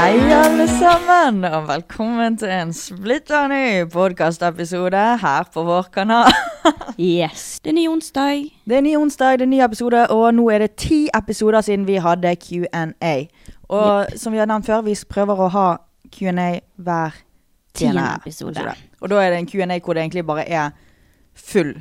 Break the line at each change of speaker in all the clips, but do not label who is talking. Hei, alle sammen, og velkommen til en splitter ny podkastepisode her på vår kanal.
Yes, det er ny onsdag.
Det er ny onsdag, det er ny episode, og nå er det ti episoder siden vi hadde Q&A. Og som vi har nevnt før, vi prøver å ha Q&A hver tiende
Tiende episode.
Og da er det en Q&A hvor det egentlig bare er full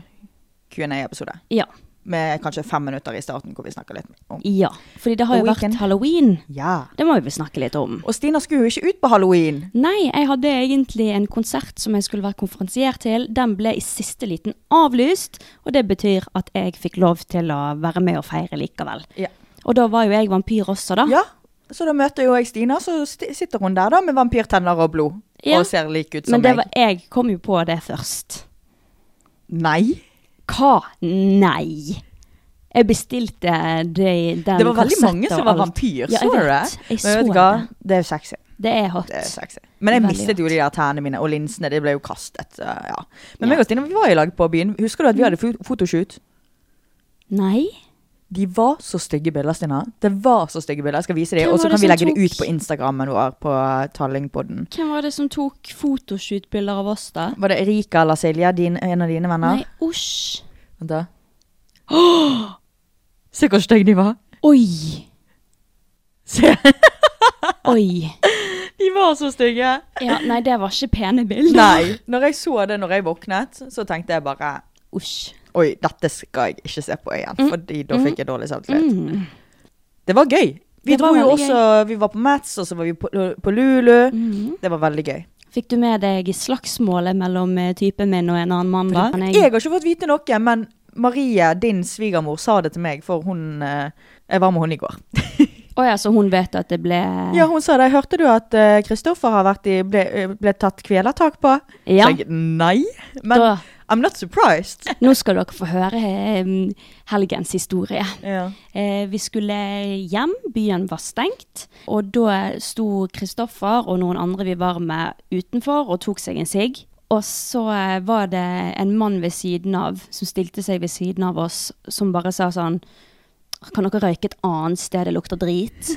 Q&A-episode.
Ja.
Med kanskje fem minutter i starten hvor vi snakker litt om
ja. Fordi det har jo
Og weekend.
vært halloween.
Ja.
Det må vi vel snakke litt om.
Og Stina skulle jo ikke ut på halloween.
Nei, jeg hadde egentlig en konsert som jeg skulle være konferansier til. Den ble i siste liten avlyst, og det betyr at jeg fikk lov til å være med og feire likevel.
Ja.
Og da var jo jeg vampyr også, da.
Ja, så da møter jo jeg Stina, så sti- sitter hun der da med vampyrtenner og blod.
Ja.
Og ser lik ut som
Men det
meg.
var, jeg kom jo på det først.
Nei.
Hva? Nei. Jeg bestilte det, den
Det var veldig
kassett
mange
og
som var
alt.
vampyr,
Ja,
så du
jeg
det?
vet. Jeg
Men
så
vet du hva?
det.
Det er jo sexy.
Det er hot.
Det er sexy. Men jeg
Veldig
mistet jo
hot.
de der tærne mine, og linsene de ble jo kastet. så Ja. Men
Ja.
meg og Stina vi var i lag på byen. Husker du at vi hadde fo- fotoshoot?
Nei.
De var så stygge bilder, Stina. Det var så stygge bilder. Jeg skal vise dem,
Hvem
og så
var
kan
det
vi
som
legge det
tok-
ut på Instagrammen vår på Tallingpodden.
Hvem var det som tok fotoshootbilder av oss, da?
Var det Erika eller Silja, din, en av dine venner?
Nei, osj.
Vent da. Se hvor stygge de var.
Oi.
Se.
Oi.
De var så stygge.
Ja, nei, det var ikke pene bilder.
Nei. Når jeg så det når jeg våknet, så tenkte jeg bare
Osj.
Oi, dette skal jeg ikke se på igjen, Fordi da fikk jeg dårlig selvtillit. Mm. Det var gøy. Vi
Det var
dro jo
veldig
også Vi var på Mats, og så var vi på, på Lulu. Det var veldig gøy.
Fikk du med deg slagsmålet mellom eh, typen min og en annen mann? da? Men
Jeg har ikke fått vite noe, men Marie, din svigermor, sa det til meg, for hun eh, Jeg var med hun i går.
Å ja, så hun vet at det ble
Ja, hun sa det. Hørte du at eh, Kristoffer har vært i ble, eh, ble tatt kvelertak på?
Ja.
Så jeg nei. Men
Da-
I'm not surprised.
Nå skal dere få høre eh, helgens historie.
Ja.
Eh, vi skulle hjem, byen var stengt, og da sto Kristoffer og noen andre vi var med utenfor og tok seg en sigg. Og så eh, var det en mann ved siden av som stilte seg ved siden av oss, som bare sa sånn Kan dere røyke et annet sted, det lukter drit?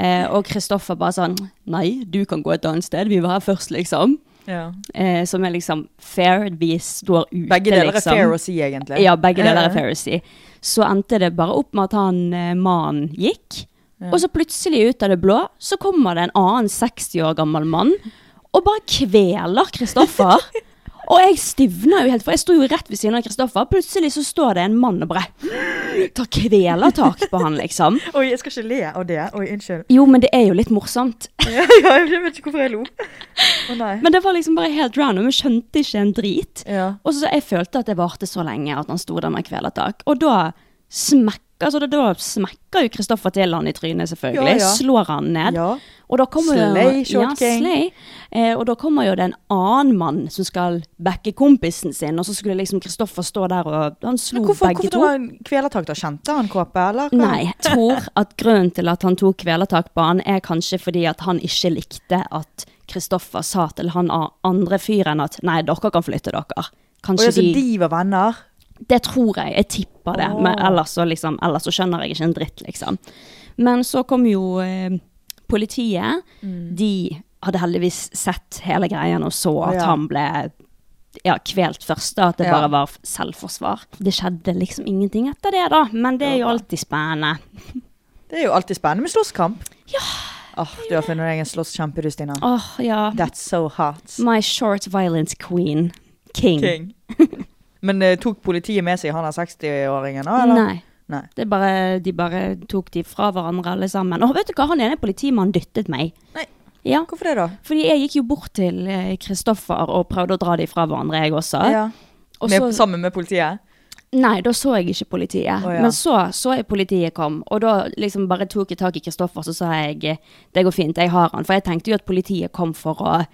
Eh, og Kristoffer bare sånn Nei, du kan gå et annet sted, vi var her først, liksom.
Ja.
Eh, som er liksom fair, vi står ute, liksom.
Begge deler er fair å si, egentlig.
Ja, begge deler er
Ja.
Pharisee. Så endte det bare opp med at han eh, mannen gikk. Og så plutselig ut av det blå så kommer det en annen 60 år gammel mann og bare kveler Kristoffer. og jeg stivner jo helt, for jeg sto jo rett ved siden av Kristoffer. Plutselig så står det en mann og bare tar kvelertak på han, liksom.
Oi, jeg skal ikke le av det. Oi, unnskyld.
Jo, men det er jo litt morsomt.
Ja, jeg vet ikke hvorfor jeg lo. Å nei.
Men det var liksom bare helt random. Jeg skjønte ikke en drit.
Ja.
Og så jeg følte at det varte så lenge at han sto der med kvelertak. Og da smekka altså da, da smekker jo Kristoffer til han i trynet, selvfølgelig.
Ja, ja.
Slår han ned.
Ja.
Og da kommer
Slay,
jo,
Short
ja,
King.
slay. Eh, og da kommer jo det en annen mann som skal backe kompisen sin, og så skulle liksom Kristoffer stå der og Han slo
Men hvorfor, hvorfor
begge to.
tok han kvelertak? da? Kjente han kåpe, eller? hva?
Nei, jeg tror at grunnen til at han tok kvelertak på han, er kanskje fordi at han ikke likte at Kristoffer sa til han a- andre fyren at nei, dere kan flytte dere.
Og
Kanskje
ja, så
de,
altså, de var venner?
Det tror jeg. Jeg tipper det. Men ellers så, liksom, ellers så skjønner jeg ikke en dritt, liksom. Men så kom jo eh, politiet.
Mm.
De hadde heldigvis sett hele greien og så at
Ja.
han ble ja, kvelt først, da, at det
Ja.
bare var selvforsvar. Det skjedde liksom ingenting etter det, da. Men det er jo alltid spennende.
Det er jo alltid spennende med slåsskamp. Ja. Åh, Du har funnet deg en slåsskjempe, du, Stina.
Åh, ja.
That's so hot.
My short violence queen. King.
King. Men eh, tok politiet med seg han er 60-åringen nå, eller?
Nei.
Nei.
Det er bare, de bare tok de fra hverandre alle sammen. Og vet du hva, han ene politimannen dyttet meg.
Nei.
Ja.
Hvorfor det, da?
Fordi jeg gikk jo bort til eh, Kristoffer og prøvde å dra de fra hverandre, jeg også.
Ja.
Og
Med,
så-
sammen med politiet?
Nei, da så jeg ikke politiet.
Å, ja.
Men så så jeg politiet kom, og da liksom bare tok jeg tak i Kristoffer, så sa jeg det går fint, jeg har han. For jeg tenkte jo at politiet kom for å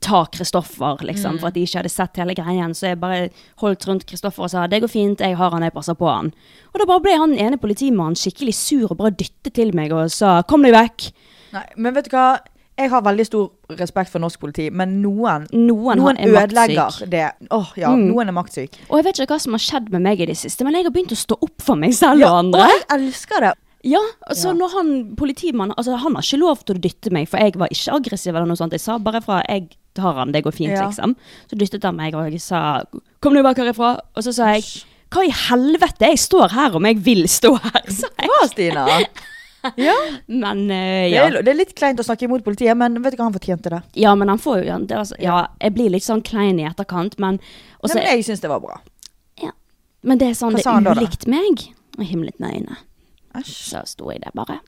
ta Kristoffer, liksom, for at de ikke hadde sett hele greien. Så jeg bare holdt rundt Kristoffer og sa det går fint, jeg har han, jeg passer på han. Og da bare ble han ene politimannen skikkelig sur og bare dyttet til meg og sa kom deg vekk.
Nei, men vet du hva? Jeg har veldig stor respekt for norsk politi, men noen,
Noen har- er
ødelegger
maktsyk. Mm.
det. Åh, ja, noen er maktsyk.
Og jeg vet ikke hva som har skjedd med meg i det siste, men jeg har begynt å stå opp for meg selv
Ja,
og andre.
og jeg elsker det.
Ja, altså
Ja.
når han, politimannen, altså han har ikke lov til å dytte meg, for jeg var ikke aggressiv eller noe sånt. Jeg sa bare fra, jeg tar han, det går fint,
Ja.
liksom. Så dyttet han meg, og jeg sa, kom du bak herifra? Og så sa jeg, hva i helvete, jeg står her om jeg vil stå her, sa jeg.
Bra, Stina. Ja,
Men, eh,
det
ja.
er, det er litt kleint å snakke imot politiet, men vet du hva, han fortjente det.
ja, men han får jo, det, er altså, ja, jeg blir litt sånn klein i etterkant, men, og så-
Nei, men jeg syns det var bra.
ja. men det er sånn,
Hva
det
sa han
er
da, da?
ulikt meg, og himlet med øynene.
Æsj.
Så sto jeg der bare.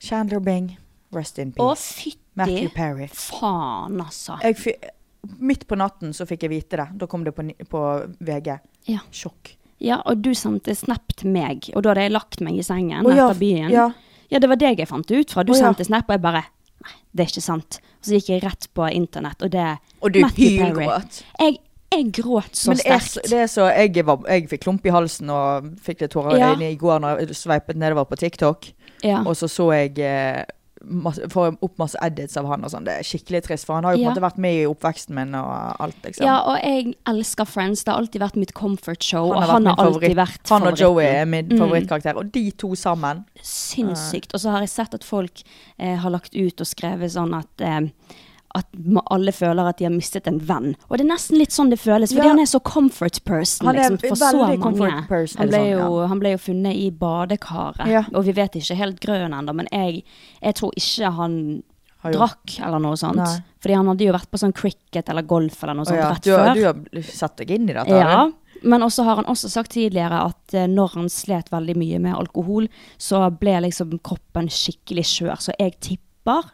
Chandler Bing, rest in
Å,
peace. Matthew
fytti
Perry.
faen, altså.
Jeg, fy- midt på natten så fikk jeg vite det. Da kom det på, ni- på VG.
Ja.
Sjokk.
Ja, og du sendte snap til meg, og da hadde jeg lagt meg i sengen
Å, ja,
etter byen.
ja.
Ja, det var deg jeg fant det ut fra. Du
Å, ja.
sendte snap, og jeg bare Nei, det er ikke sant. Og så gikk jeg rett på internett, og det
Og du
Matthew Perry.
hylgråt.
Jeg, jeg gråt så
Men det er, så-
sterkt.
det er så jeg, var, jeg fikk klump i halsen og fikk litt tårer i
Ja.
øynene i går når jeg sveipet nedover på TikTok.
Ja.
Og så så jeg eh, masse, får opp masse edits av han og sånn. Det er skikkelig trist, for han har jo på
Ja.
en måte vært med i oppveksten min og alt, liksom.
ja, og jeg elsker Friends. Det har alltid vært mitt comfort show,
Han
og
har,
han
vært
har
min
alltid
favoritt.
vært
han og Joey er
favoritten.
min favorittkarakter. Og de to sammen.
Sinnssykt. Og så har jeg sett at folk eh, har lagt ut og skrevet sånn at eh, at ma- alle føler at de har mistet en venn. Og det er nesten litt sånn det føles, fordi
Ja.
han er så comfort person
Han er
liksom, for så
veldig comfort
mange.
person,
han, ble
sånn,
jo,
ja.
han ble jo funnet i badekaret,
Ja.
og vi vet ikke helt grønn ennå, men jeg, jeg tror ikke han
Har gjort-
drakk eller noe sånt.
Nei.
Fordi han hadde jo vært på sånn cricket eller golf eller noe
Og
sånt
ja,
rett
du, har-
før.
du har satt deg inn i dette? har
Ja,
du?
men også har han også sagt tidligere at eh, når han slet veldig mye med alkohol, så ble liksom kroppen skikkelig skjør. Så jeg tipper,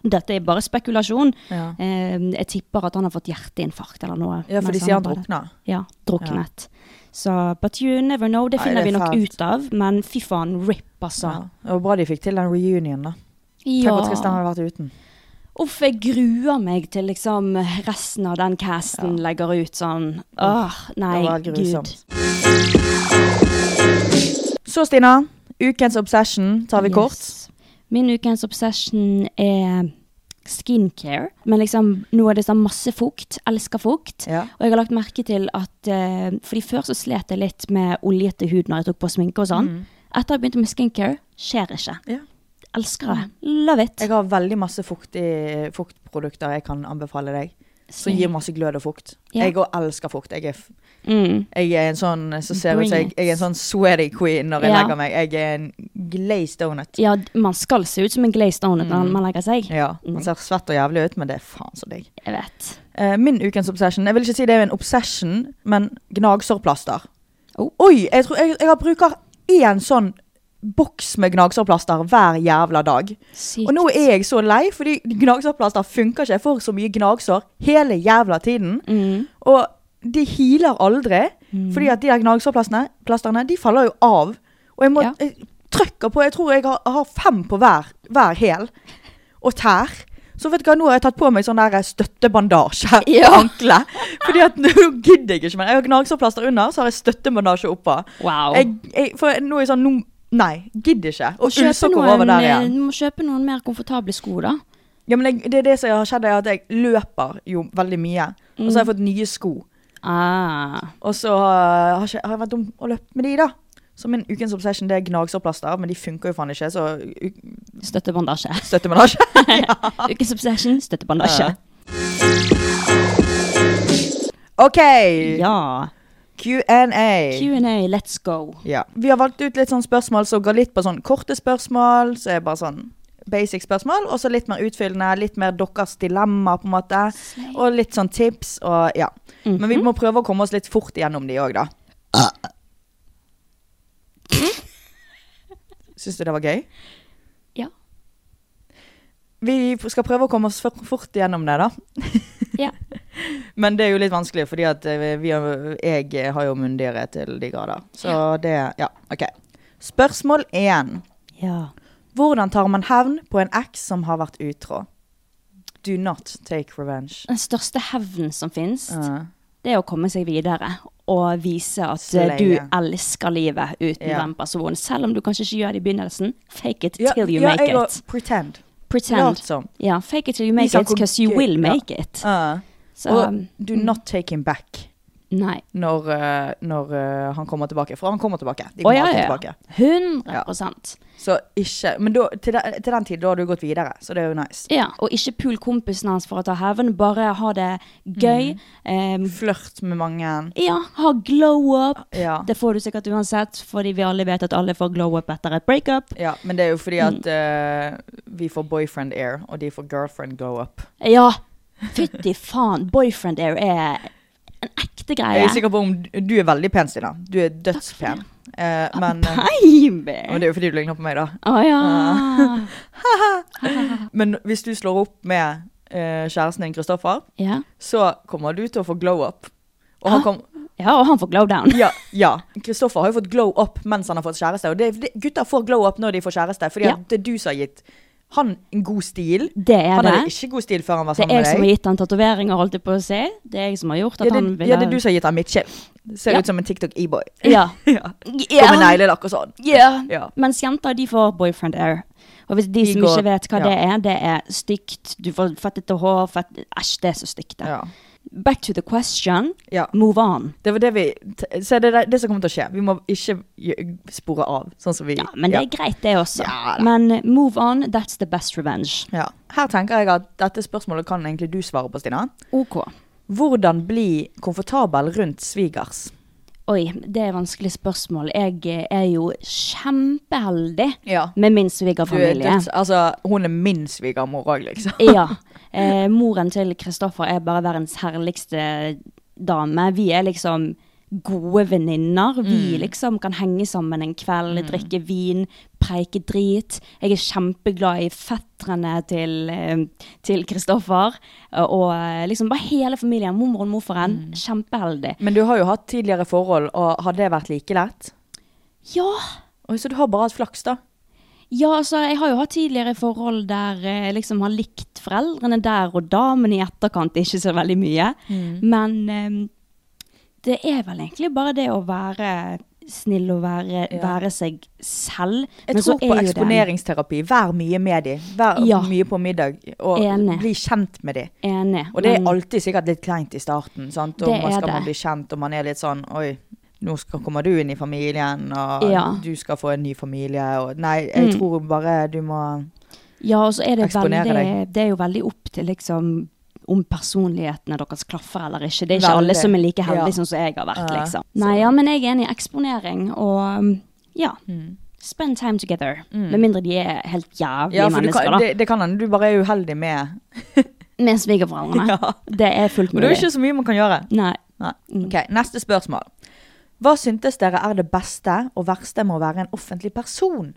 dette er bare spekulasjon,
Ja.
eh, jeg tipper at han har fått hjerteinfarkt eller noe.
Ja, for de
mens
sier han
har badet.
drukna.
Ja, druknet. Så, but you never know, det
Nei,
finner
det er
vi nok
fælt.
ut av, men fy faen, rip altså.
Ja. Det var bra de fikk til den reunionen, da. Tenk hvor trist den
Ja.
hadde vært uten.
Uff, jeg gruer meg til liksom resten av den casten legger ut sånn. Åh, nei,
det var
gud.
grusomt. Så, Stina. Ukens obsession tar vi
Yes.
kort.
Min ukens obsession er skincare. Men liksom, nå er det sånn masse fukt. Elsker fukt.
Ja.
Og jeg har lagt merke til at eh, Fordi før så slet jeg litt med oljete hud når jeg tok på sminke og sånn. Etter at jeg begynte med skincare, skjer ikke.
Mm. Ja.
Elsker det. Love it.
Jeg har veldig masse fuktig, fuktprodukter jeg kan anbefale deg. Som gir masse glød og fukt.
Ja.
Jeg òg elsker fukt. Jeg er, f-
Mm.
jeg er en sånn som ser ut
Bring
som jeg,
it.
jeg er en sånn sweaty queen når jeg
Ja.
legger meg. Jeg er en glazed donut.
Ja, d- man skal se ut som en glazed donut når man legger seg.
Mm. Ja, Man ser svett og jævlig ut, men det er faen så digg.
Jeg vet.
Eh, min ukens obsession Jeg vil ikke si det er en obsession, men gnagsårplaster.
Oh.
Oi! Jeg, tror, jeg, jeg har bruker én sånn boks med gnagsårplaster hver jævla dag.
Sykt.
Og nå er jeg så lei, Mm. fordi gnagsårplaster funker ikke. Jeg får så mye gnagsår hele jævla tiden. Og de healer aldri.
Mm.
Fordi at de der gnagsårplastene plasterne, de faller jo av. Og jeg må
Ja.
jeg trykker på Jeg tror jeg har, har fem på hver, hver hæl. Og tær. Så vet du hva, nå har jeg tatt på meg sånn der støttebandasje på
Ja.
anklet. Fordi at nå gidder jeg ikke mer. Jeg har gnagsårplaster under, så har jeg støttebandasje oppå.
Wow.
Jeg, jeg, for nå er jeg sånn nå, Nei, gidder ikke.
Og
Og
kjøpe
ullsokker
noen,
over der
eh,
igjen.
du må kjøpe noen mer komfortable sko, da.
Ja, men jeg, det er det som har skjedd, er at jeg løper jo veldig mye. Og
Mm.
så har jeg fått nye sko.
Ah.
Og så har, har, ikke, har jeg vært dum og løpt med de, da. Så min ukens obsession det er gnagsårplaster, men de funker jo faen ikke, så u-
Støttebandasje.
støttemannasje.
Ukens obsession, støttebandasje.
OK!
Ja.
Q&A.
Q&A, let's go.
Ja. Vi har valgt ut litt sånn spørsmål som går litt på sånn korte spørsmål, så er bare sånn basic spørsmål, og så litt mer utfyllende, litt mer deres dilemma, på en måte. Og litt sånn tips og ja. Men vi må prøve å komme oss litt fort igjennom de òg, da. Syns du det var gøy?
Ja.
Vi skal prøve å komme oss for- fort igjennom det, da.
Ja.
Men det er jo litt vanskelig, fordi at eh, vi, har- jeg har jo myndigere til de grader. Så det Ja, OK. Spørsmål én.
ja.
Hvordan tar man hevn på en eks som har vært utro? Do not take revenge.
Den største hevnen som finnes,
Ja.
det er å komme seg videre. Og vise at
Slenge.
du elsker livet uten
Ja.
den personen. Selv om du kanskje ikke gjør det i begynnelsen. Fake it
Ja,
till you
ja,
make
jeg
it.
og- Pretend.
Pretend.
Lat som.
Ja, fake it till you make
Vis han
it,
hvor
because you
gøy-
will
ja.
make it.
Ja.
Så, um,
og do
mm.
not take him back
nei.
når, eh, når eh, han kommer tilbake. For han kommer tilbake. De
Å
kommer
ja,
alltid
ja.
tilbake.
100
Så ikke Men da, til, den- til den tid, da har du gått videre, så det er jo nice.
Ja, og ikke pul kompisen hans for å ta hevn, bare ha det gøy.
Mm.
Em,
Flørt med mange.
ja, ha glow up.
Ja.
Det får du sikkert uansett, fordi vi alle vet at alle får glow up etter et breakup.
ja. Men det er jo fordi
Mm.
at eh, vi får boyfriend air, og de får girlfriend glow up.
Ja, fytti faen, boyfriend air er en ekte
Jeg
greie.
er sikker på om Du er veldig pen, Stina. Du er dødspen. Eh,
Ah,
men eh, og
Baby!
det er jo fordi du ligner på meg, da.
Å ja.
Men hvis du slår opp med eh, kjæresten din, Kristoffer,
ja.
så kommer du til å få glow up. Og
Ah.
han kom,
Ja, og han får glow down.
ja, ja. Kristoffer har jo fått glow up mens han har fått kjæreste. Og det, det, gutter får glow up når de får kjæreste, fordi
Ja.
at det er du som har gitt han en god stil.
Det er
han
det.
hadde ikke god stil før han var
Det er
sammen
jeg som har
med deg.
gitt han tatoveringer, holdt jeg på å si. Det er jeg som har gjort
Ja
at
det,
han vil
ja, det er du som har gitt han midtskill. Ser
Ja.
ut som en TikTok-e-boy.
Ja.
ja.
Ja.
Og med neglelakk og sånn.
Ja.
Ja.
Mens jenter, de får boyfriend air. Og hvis de,
De
som
går-
ikke vet hva
ja.
det er, det er stygt. Du får fettete hår, fett Æsj, det er så stygt, det.
Ja.
Back to the question.
Ja.
Move on.
Det var det vi t- Så det er det som kommer til å skje. Vi må ikke gjø- spore av, sånn som vi
Ja, men det er greit, det også.
Ja da.
men eh, move on, that's the best revenge.
Ja. Her tenker jeg at dette spørsmålet kan egentlig du svare på, Stina.
OK.
Hvordan bli komfortabel rundt svigers?
Oi, det er vanskelig spørsmål. Jeg eh, er jo kjempeheldig
Ja.
med
Du
min
er
svigerfamilie.
døds, altså, hun er min svigermor òg, liksom.
ja. Eh, moren til Kristoffer er bare verdens herligste dame. Vi er liksom gode venninner. Vi liksom kan henge sammen en kveld, drikke vin, preike drit. Jeg er kjempeglad i fetterne til, eh, til Kristoffer. Og eh, liksom bare hele familien. Mormor og morfaren. Kjempeheldig.
Men du har jo hatt tidligere forhold, og har det vært like lett?
Ja,
Oi, så du har bare hatt flaks, da.
Ja, altså, jeg har jo hatt tidligere forhold der eh, jeg liksom har likt foreldrene der og da, men i etterkant ikke så veldig mye.
Mm.
Men eh, det er vel egentlig bare det å være snill og være, være seg selv.
Jeg
Men så
tror på
er jo det en-
eksponeringsterapi. Vær mye med de. Vær
Ja.
mye på middag, og
Enig.
bli kjent med de.
Enig.
Og det er
men-
alltid sikkert litt kleint i starten, sant? Og
Det
man
er
skal man
det.
bli kjent, og man er litt sånn, oi, nå skal, kommer du inn i familien, og
Ja. Mm.
du skal få en ny familie, og nei, jeg tror bare du må...
Ja, og så er det
Eksponere
veldig Det er jo veldig opp til liksom om personlighetene deres klaffer eller ikke. Det er ikke
Veldig.
alle som er like
Ja.
heldige sånn som jeg har vært,
Ja.
liksom. Nei, ja, men jeg er enig i eksponering og um, ja.
Mm.
Spend time together. Med mindre de er helt jævlige
Ja, for du
mennesker,
kan,
da.
det, det kan han, du bare er uheldig med.
Med svigerforeldrene.
Ja.
Det er fullt
Men det er
mulig.
jo ikke så mye man kan gjøre.
Nei. Mm.
Nei. Ok, neste spørsmål. Hva syntes dere er det beste og verste med å være en offentlig person?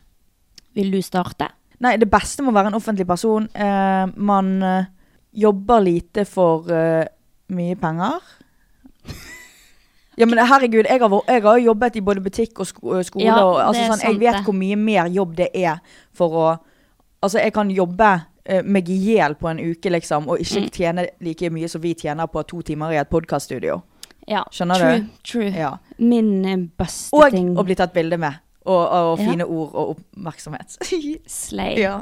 Vil du starte?
Nei, det beste med å være en offentlig person, eh, man eh, jobber lite for eh, mye penger. Ja, men herregud, jeg har, vært- jeg har jo jobbet i både butikk og sko og skole.
Ja,
og, altså,
det er
sånn,
sant
jeg vet
det.
hvor mye mer jobb det er for å Altså, jeg kan jobbe eh, meg i hjel på en uke, liksom, og ikke
Mm.
tjene like mye som vi tjener på to timer i et podkaststudio.
Ja,
Skjønner
true,
du?
True.
Ja.
Min eh, beste
Og
Mm. ting
å bli tatt bilde med. Og, og
Ja.
fine ord og oppmerksomhet.
Slay.
ja.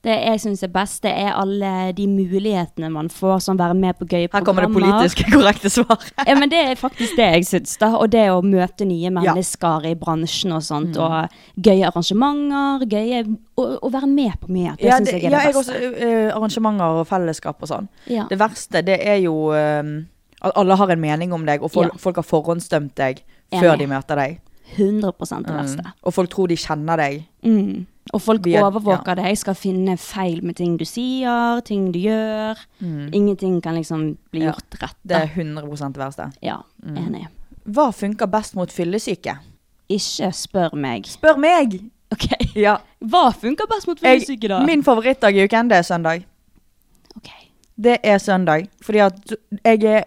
Det jeg syns er best, det er alle de mulighetene man får som være med på gøye programmer.
Her kommer det politisk korrekte svaret.
Ja, men det er faktisk det jeg syns, da. Og det å møte nye mennesker i bransjen og
Mm.
sånt. Og gøye arrangementer, gøye Å å være med på mye. Det
Ja,
syns
det,
jeg er
ja, jeg
det beste.
også, eh, arrangementer og fellesskap og sånn.
Ja.
Det verste, det er jo ehm, at alle har en mening om deg, og fol
Ja.
folk har forhåndsdømt deg
Enig.
før de møter deg.
100 det verste.
Og folk tror de kjenner deg.
Mm. Og folk
Mm. Vi er-
overvåker deg, skal finne feil med ting du sier, ting du gjør. Ingenting kan liksom bli
Mm. Ja.
gjort rett.
Det Mm.
Da.
er 100 det verste.
Ja, enig.
Hva funker best mot fyllesyke?
Ikke spør meg.
Spør meg!
OK.
Ja.
Hva funker best mot
Jeg,
fyllesyke, da?
min favorittdag i uken, det er søndag.
Ok.
Det er søndag. Fordi at jeg er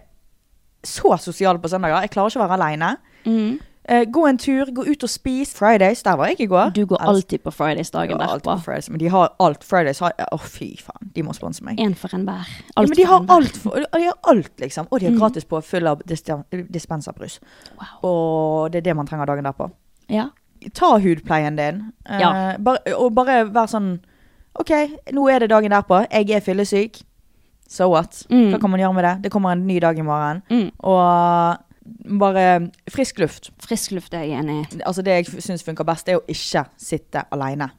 så sosial på søndager. Jeg klarer ikke å være aleine.
Mm.
Eh, gå en tur, gå ut og spis. Fridays, der var jeg i går.
Du går
Elsker-
alltid på Fridays-dagen
Ja, alltid på
derpå.
Fridays, men de har alt. Fridays har Å, fy faen. De må sponse meg.
Én for enhver.
Ja, men de
for
har
enhver.
alt, for, de har alt liksom. Og de har gratis påfyll av dis- dispenserbrus.
Wow.
Og det er det man trenger dagen derpå.
Ja.
Ta hudpleien din, eh,
Ja.
bare, og bare vær sånn OK, nå er det dagen derpå. Jeg er fyllesyk. So what?
Mm.
Hva kan man gjøre med det? Det kommer en ny dag i morgen.
Mm.
Og bare frisk luft.
Frisk luft er jeg enig i.
Altså Det jeg syns funker best, det er å ikke sitte aleine.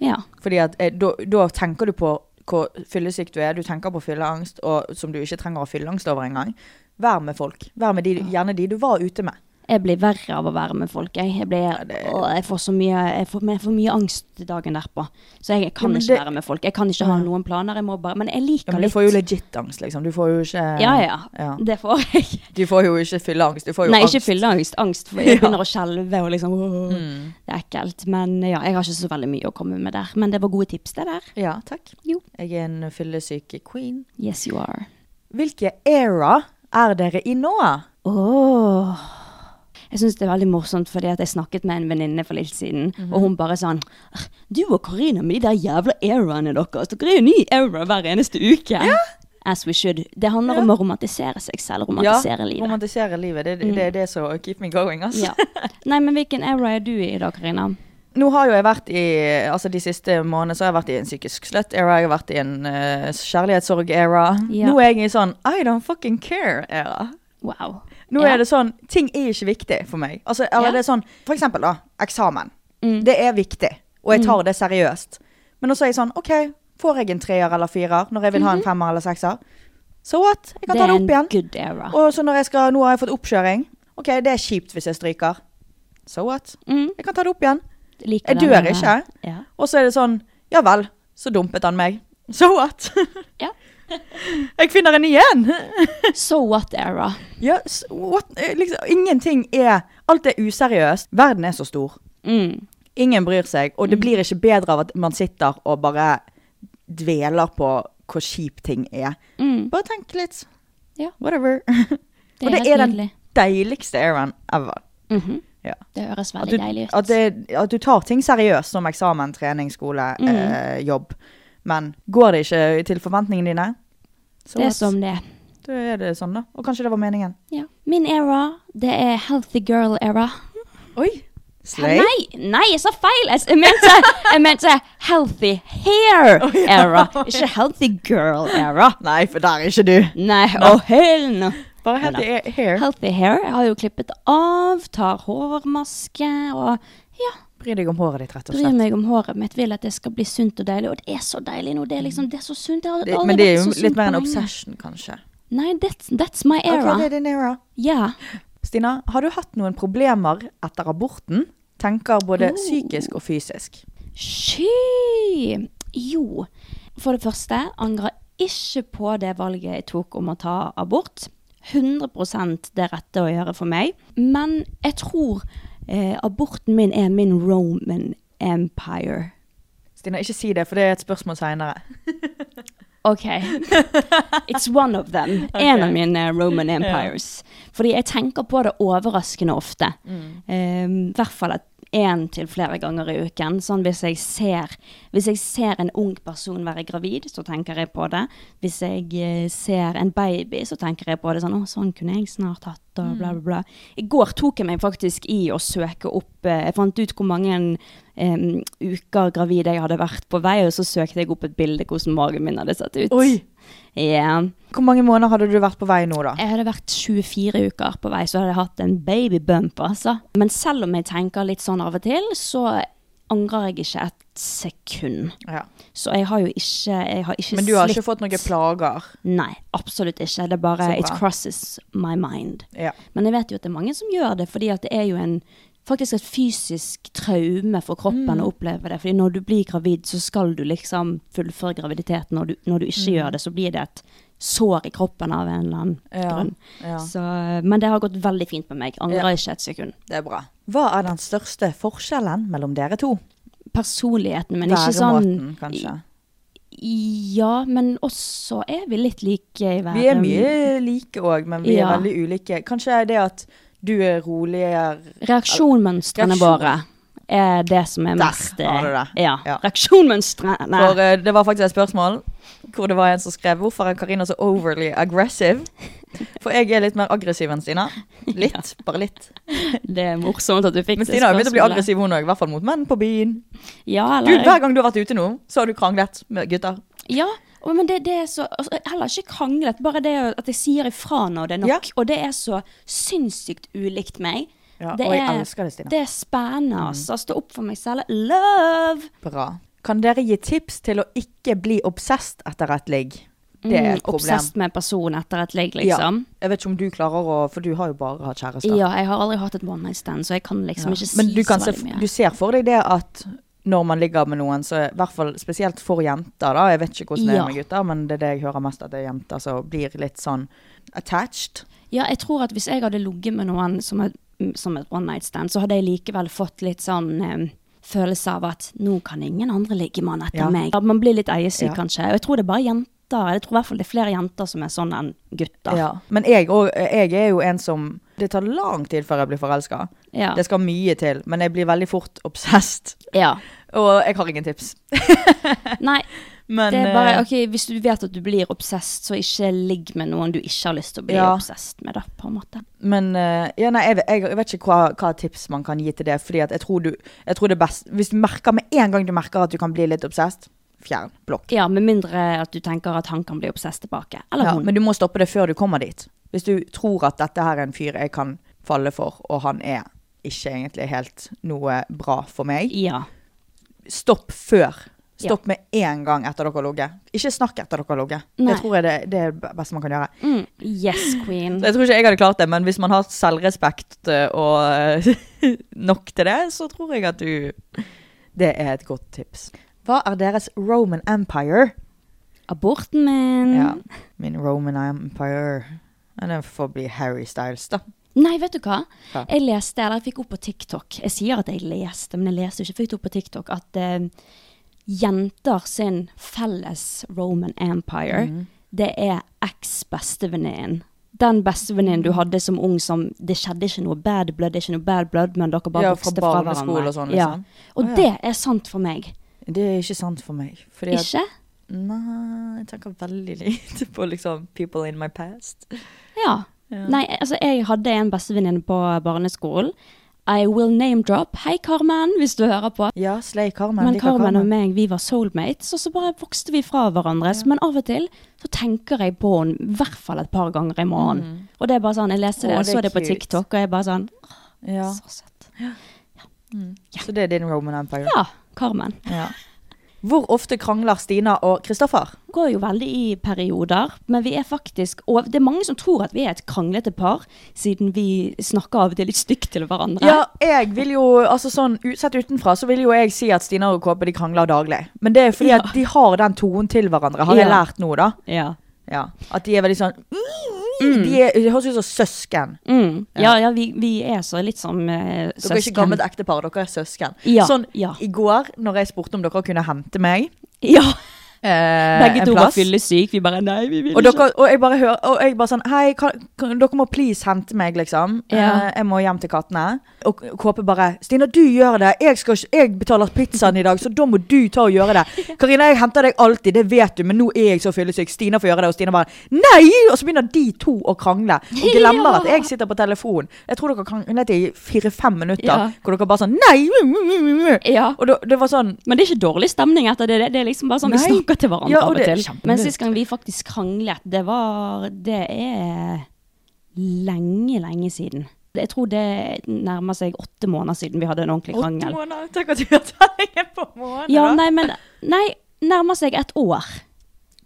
Ja.
Fordi at eh, da da tenker du på hvor fyllesyk du er, du tenker på fylleangst, og som du ikke trenger å ha fylleangst over engang. Vær med folk. Vær med de, gjerne de du var ute med.
Jeg blir verre av å være med folk. Jeg, jeg, blir,
det-
Åh, jeg får så mye jeg får, men jeg får mye angst dagen derpå. Så jeg kan
men
ikke
det-
være med folk. Jeg kan ikke ha noen planer. Jeg må bare, men
Ja,
jeg liker
men du
litt.
får jo legit angst, liksom. Du får jo ikke
ja, ja,
Ja.
Det får jeg.
Du får jo ikke fylleangst. Du får jo
Nei,
angst.
ikke fylleangst. Angst. For jeg
Ja. Mm.
begynner å skjelve og liksom åh, Det er ekkelt. Men ja, jeg har ikke så veldig mye å komme med der. Men det var gode tips, det der.
Ja, takk.
Jo.
Jeg er en fyllesyk queen.
Yes, you are.
Hvilke era er dere i nå?
Åh. Jeg syns det er veldig morsomt, fordi at jeg snakket med en venninne for litt siden,
Mhm.
og hun bare sånn "Ah, Du og Karina med de der jævla eraene deres. Dere er jo ny era hver eneste uke. As we should. Det handler om å romantisere seg selv, romantisere
ja,
livet. Mm.
Romantisere livet. Det, det er det som keep me going, altså.
ja. Nei, men hvilken era er du i da, Karina?
Nå har jo jeg vært i Altså de siste månedene så har jeg vært i en psykisk slut-era. Jeg har vært i en eh, kjærlighetssorg-era.
Ja.
Nå er jeg i sånn I don't fucking care-era.
Wow.
Nå
Ja.
er det sånn Ting er ikke viktig for meg. Altså, eller
Ja. Mm.
det er sånn For eksempel, da. Eksamen. Det er viktig, og jeg tar det seriøst. Men også er jeg sånn OK, får jeg en treer eller firer når jeg vil ha en femmer eller sekser? So what? Jeg kan
Mhm. Det
ta
er
det opp
en
igjen.
good era.
Og så når jeg skal Nå har jeg fått oppkjøring. OK, det er kjipt hvis jeg stryker. So what?
Mm,
Jeg kan ta det opp igjen.
liker
Jeg
den
dør
era.
ikke.
Ja.
Og så er det sånn, ja vel, så dumpet han meg. So what?
Ja.
jeg finner en igjen!
So what era?
Ja, s- what? Eh, Liksom, ingenting er, alt er useriøst. Verden er så stor.
Mm.
Ingen bryr seg, og det blir ikke bedre av at man sitter og bare dveler på hvor kjip ting er.
Mm.
Bare tenk litt.
Ja.
Whatever.
Det
og
er
det
helt
er den
nydelig.
deiligste eraen ever.
Mhm.
Ja.
Det høres
At
veldig
du,
deilig ut.
at, det, at du tar ting seriøst som eksamen, trening, skole,
Mm.
eh, jobb. Men går det ikke til forventningene dine, så
det er
what?
som det er.
da er det sånn, da. Og kanskje det var meningen.
Ja. Min era, det er healthy girl era.
Oi! Slay.
Nei, nei, jeg sa feil! Jeg s- Jeg mente, jeg mente healthy hair era, ikke healthy girl era.
Ah, Nei, for der er ikke du.
Nei, oh hell no.
Bare helt
Nei,
i- here.
Healthy hair jeg har jo klippet av, tar hårmaske og ja,
Bry deg om håret ditt, rett og
bryr
slett.
meg om håret mitt. Vil at det skal bli sunt og deilig, og det er så deilig nå. Det er liksom, det er så sunt. Det har
Det,
aldri
men det er
vært
jo
så sunt
litt mer
på
en
lenge.
obsession, kanskje.
Nei, that's, that's my
Ok,
era.
det er din era.
Ja.
Stina, har du hatt noen problemer etter aborten? Tenker både
Oh.
psykisk og fysisk.
Sky! Jo, for det første angrer ikke på det valget jeg tok om å ta abort. 100 det rette å gjøre for meg. Men jeg tror eh, aborten min er min Roman Empire.
Stina, ikke si det, for det er et spørsmål seinere.
OK. It's one of them. En av mine eh, Roman empires. Fordi jeg tenker på det overraskende ofte. Eh, I hvert fall én til flere ganger i uken. Sånn hvis jeg, ser, hvis jeg ser en ung person være gravid, så tenker jeg på det. Hvis jeg eh, ser en baby, så tenker jeg på det sånn Å, sånn kunne jeg snart hatt, og bla, bla, bla. I går tok jeg meg faktisk i å søke opp eh, Jeg fant ut hvor mange em, uker gravid jeg hadde vært på vei, og så søkte jeg opp et bilde hvordan magen min hadde sett ut.
Oi.
Ja.
Hvor mange måneder hadde du vært på vei nå, da?
Jeg hadde vært 24 uker på vei, så hadde jeg hatt en babybump, altså. Men selv om jeg tenker litt sånn av og til, så angrer jeg ikke et sekund.
Ja.
Så jeg har jo ikke jeg har ikke
Men du har ikke
slitt-
fått noen plager?
Nei, absolutt ikke. Det er bare
Så bra.
It crosses my mind.
Ja.
Men jeg vet jo at det er mange som gjør det, fordi at det er jo en faktisk et fysisk traume for kroppen
Mm.
å oppleve det. Fordi når du blir gravid, så skal du liksom fullføre graviditeten. Når du, når du ikke
Mm.
gjør det, så blir det et sår i kroppen av en eller annen
Ja,
grunn.
ja.
Så, men det har gått veldig fint med meg. Angrer ikke et sekund.
Det er bra. Hva er den største forskjellen mellom dere to?
Personligheten min er ikke sånn
Væremåten, kanskje.
Ja, men også er vi litt like i verden.
Vi er mye like òg, men vi
Ja.
er veldig ulike. Kanskje det at du er roligere
Reaksjonsmønstrene
Reaksjon.
våre er det som er
Der
mest eh,
har du det.
Ja.
Ja.
Reaksjonsmønstrene.
For eh, det var faktisk et spørsmål hvor det var en som skrev Hvorfor er Karina så overly aggressive? For jeg er litt mer aggressiv enn Stina. Litt, bare litt.
Det er morsomt at du fikk
Men
det
Stina har jo begynt å bli
spørsmålet.
aggressiv, hun òg. I hvert fall mot menn på byen.
Ja,
Du,
eller,
hver gang du har vært ute nå, så har du kranglet med gutter.
ja og- men det, det er så altså, Heller ikke kranglet, bare det at jeg sier ifra når det er nok.
Ja.
Og det er så sinnssykt ulikt meg.
Ja,
det,
og jeg
er,
elsker det, Stina. Mm.
det er spennende. altså. Stå opp for meg selv. Love!
Bra. Kan dere gi tips til å ikke bli obsesst etter et ligg? Det er
Mm,
et problem.
Obsesst med en person etter et ligg, liksom.
Ja. Jeg vet ikke om du klarer å For du har jo bare hatt kjærester.
Ja. jeg har aldri hatt et one night stand, så jeg kan liksom ikke si
Men du, kan
så
se,
veldig mye.
du ser for deg det at når man ligger med noen, så i hvert fall spesielt for jenter, da. Jeg vet ikke hvordan det
Ja.
er med gutter, men det er det jeg hører mest at det er jenter som blir litt sånn attached.
Ja, jeg tror at hvis jeg hadde ligget med noen som et, som et one night stand, så hadde jeg likevel fått litt sånn em, følelse av at nå kan ingen andre ligge med han etter
Ja.
meg. Ja, Man blir litt eiesyk,
Ja.
kanskje. Og jeg tror det er bare jenter. Jeg tror i hvert fall det er flere jenter som er sånn enn gutter.
Ja. Men jeg, og, jeg er jo en som Det tar lang tid før jeg blir forelska.
Ja.
Det skal mye til, men jeg blir veldig fort obsessed.
Ja.
Og jeg har ingen tips.
Nei,
Men
det er bare
eh,
OK, hvis du vet at du blir obsesst, så ikke ligg med noen du ikke har lyst til å bli
Ja.
obsesst med, da, på en måte.
Men eh, ja, nei, jeg, jeg, jeg vet ikke hva, hva tips man kan gi til det. Fordi at jeg tror, du, jeg tror det er best Hvis du merker med en gang du merker at du kan bli litt obsessed, fjern. Blokk.
Ja, med mindre at du tenker at han kan bli obsesst tilbake. Eller
Ja,
hun.
men du må stoppe det før du kommer dit. Hvis du tror at dette her er en fyr jeg kan falle for, og han er ikke egentlig helt noe bra for meg,
Ja.
stopp før.
Ja.
Stopp med en gang etter dere har ligget. Ikke snakk etter dere har ligget.
Nei.
Det tror jeg det, det er det beste man kan gjøre.
Mm. Yes, queen.
Så Jeg tror ikke jeg hadde klart det, men hvis man har selvrespekt eh, og eh, nok til det, så tror jeg at du Det er et godt tips. Hva er deres Roman Empire?
Aborten min.
Ja, min Roman Empire Ja, Den får bli Harry Styles, da.
Nei, vet du hva?
Hva?
Jeg leste, eller jeg fikk opp på TikTok Jeg sier at jeg leste, men jeg leste jo ikke. Jeg fikk det opp på TikTok at eh, jenter sin felles Roman Empire,
Mhm.
det er eks-bestevenninnen. Den bestevenninnen
Mm.
du hadde som ung som Det skjedde ikke noe bad blood, det er ikke noe bad blood, men dere bare
Ja, fra
vokste fra hverandre.
barneskole og sånn, liksom.
Ja. Og
Å, ja.
det er sant for meg.
Det er ikke sant for meg. Fordi at
Ikke?
Nei, jeg tenker veldig lite på liksom people in my past.
Ja. Nei, altså, jeg hadde en bestevenninne på barneskolen. I will name drop. Hei, Carmen, hvis du hører på.
Ja, Slay Carmen.
Men
liker
Carmen og meg, vi var soulmates, og så bare vokste vi fra hverandre. Så- Men av og til så tenker jeg på henne i hvert fall et par ganger i måneden. Og det er bare sånn, jeg leste det,
Mm. Å,
og
det er
så det på
cute.
TikTok, og jeg bare sånn «Åh,
Ja.
Så søtt.
Så det er din Roman Empire.
Ja, Carmen.
Ja. Hvor ofte krangler Stina og Kristoffer?
Går jo veldig i perioder, men vi er faktisk Og det er mange som tror at vi er et kranglete par, siden vi snakker av og til litt stygt til hverandre.
Ja, jeg vil jo, altså sånn, u- Sett utenfra så vil jo jeg si at Stina og Kåpe de krangler daglig. Men det er fordi at de har den tonen til hverandre, har jeg
Ja.
lært nå, da.
Ja.
Ja, At de er veldig sånn De er, det høres ut som søsken.
Mm. ja, ja, vi, vi er så litt som eh, søsken.
Dere er ikke gammelt ektepar, dere er søsken.
Ja,
sånn
ja.
i går, når jeg spurte om dere kunne hente meg,
Ja.
eh,
Begge
en
to var
plass.
fyllesyke. Vi bare Nei, vi vil
Og,
ikke.
dere, og jeg bare hører Og jeg bare sånn Hei, kan, kan, dere må please hente meg, liksom.
Ja.
Eh, jeg må hjem til kattene. Og Kåpe bare Stina, du gjør det. Jeg, skal, ikke- jeg betaler pizzaen i dag, så da må du ta og gjøre det. Karina, jeg henter deg alltid, det vet du, men nå er jeg så fyllesyk. Stina får gjøre det. Og Stina bare Nei! Og så begynner de to å krangle. Og glemmer
Ja.
at jeg sitter på telefon. Jeg tror dere kranglet i fire-fem minutter,
Ja.
hvor dere bare sånn Nei! mm, mm, mm, mm».
Ja.
Og da, det var sånn
Men det er ikke dårlig stemning etter det. Det- Det er liksom bare sånn
Nei.
vi snakker til hverandre
Ja, og
av og
det er
til.
kjempe-
Men sist gang vi faktisk kranglet, det var Det er lenge, lenge siden. Jeg tror det nærmer seg åtte måneder siden vi hadde en ordentlig
Åtte
krangel.
måneder. Tenk at vi har telling på måneder.
Ja, nei, men Nei, nærmer seg et år.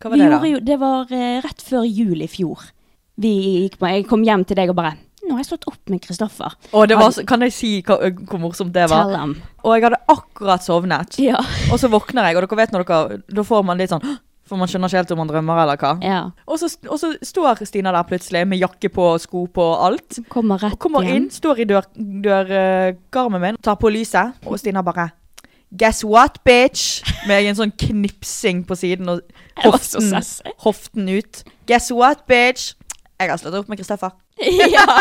Hva var
Vi
det, da?
gjorde jo, det var eh, rett før jul i fjor. Vi gikk, jeg kom hjem til deg og bare Nå har jeg slått opp med Kristoffer.
Og det var,
Han-
så- kan jeg si hva, hvor morsomt det var?
Altså- Tell them.
Og jeg hadde akkurat sovnet.
Ja.
Og så våkner jeg, og dere vet når dere Da får man litt sånn «Hå!» For man skjønner ikke helt om man drømmer eller hva.
ja.
Og, så, og så står Stina der plutselig med jakke på og sko på og alt.
Kommer rett
Og kommer
hjem.
inn, står i dørkarmen dør, eh, garmen min, tar på lyset, og Stina bare Guess what, bitch? Med en sånn knipsing på siden og
Jeg var så
hoften,
sassy.
hoften ut. Guess what, bitch? Jeg har slått opp med Kristoffer.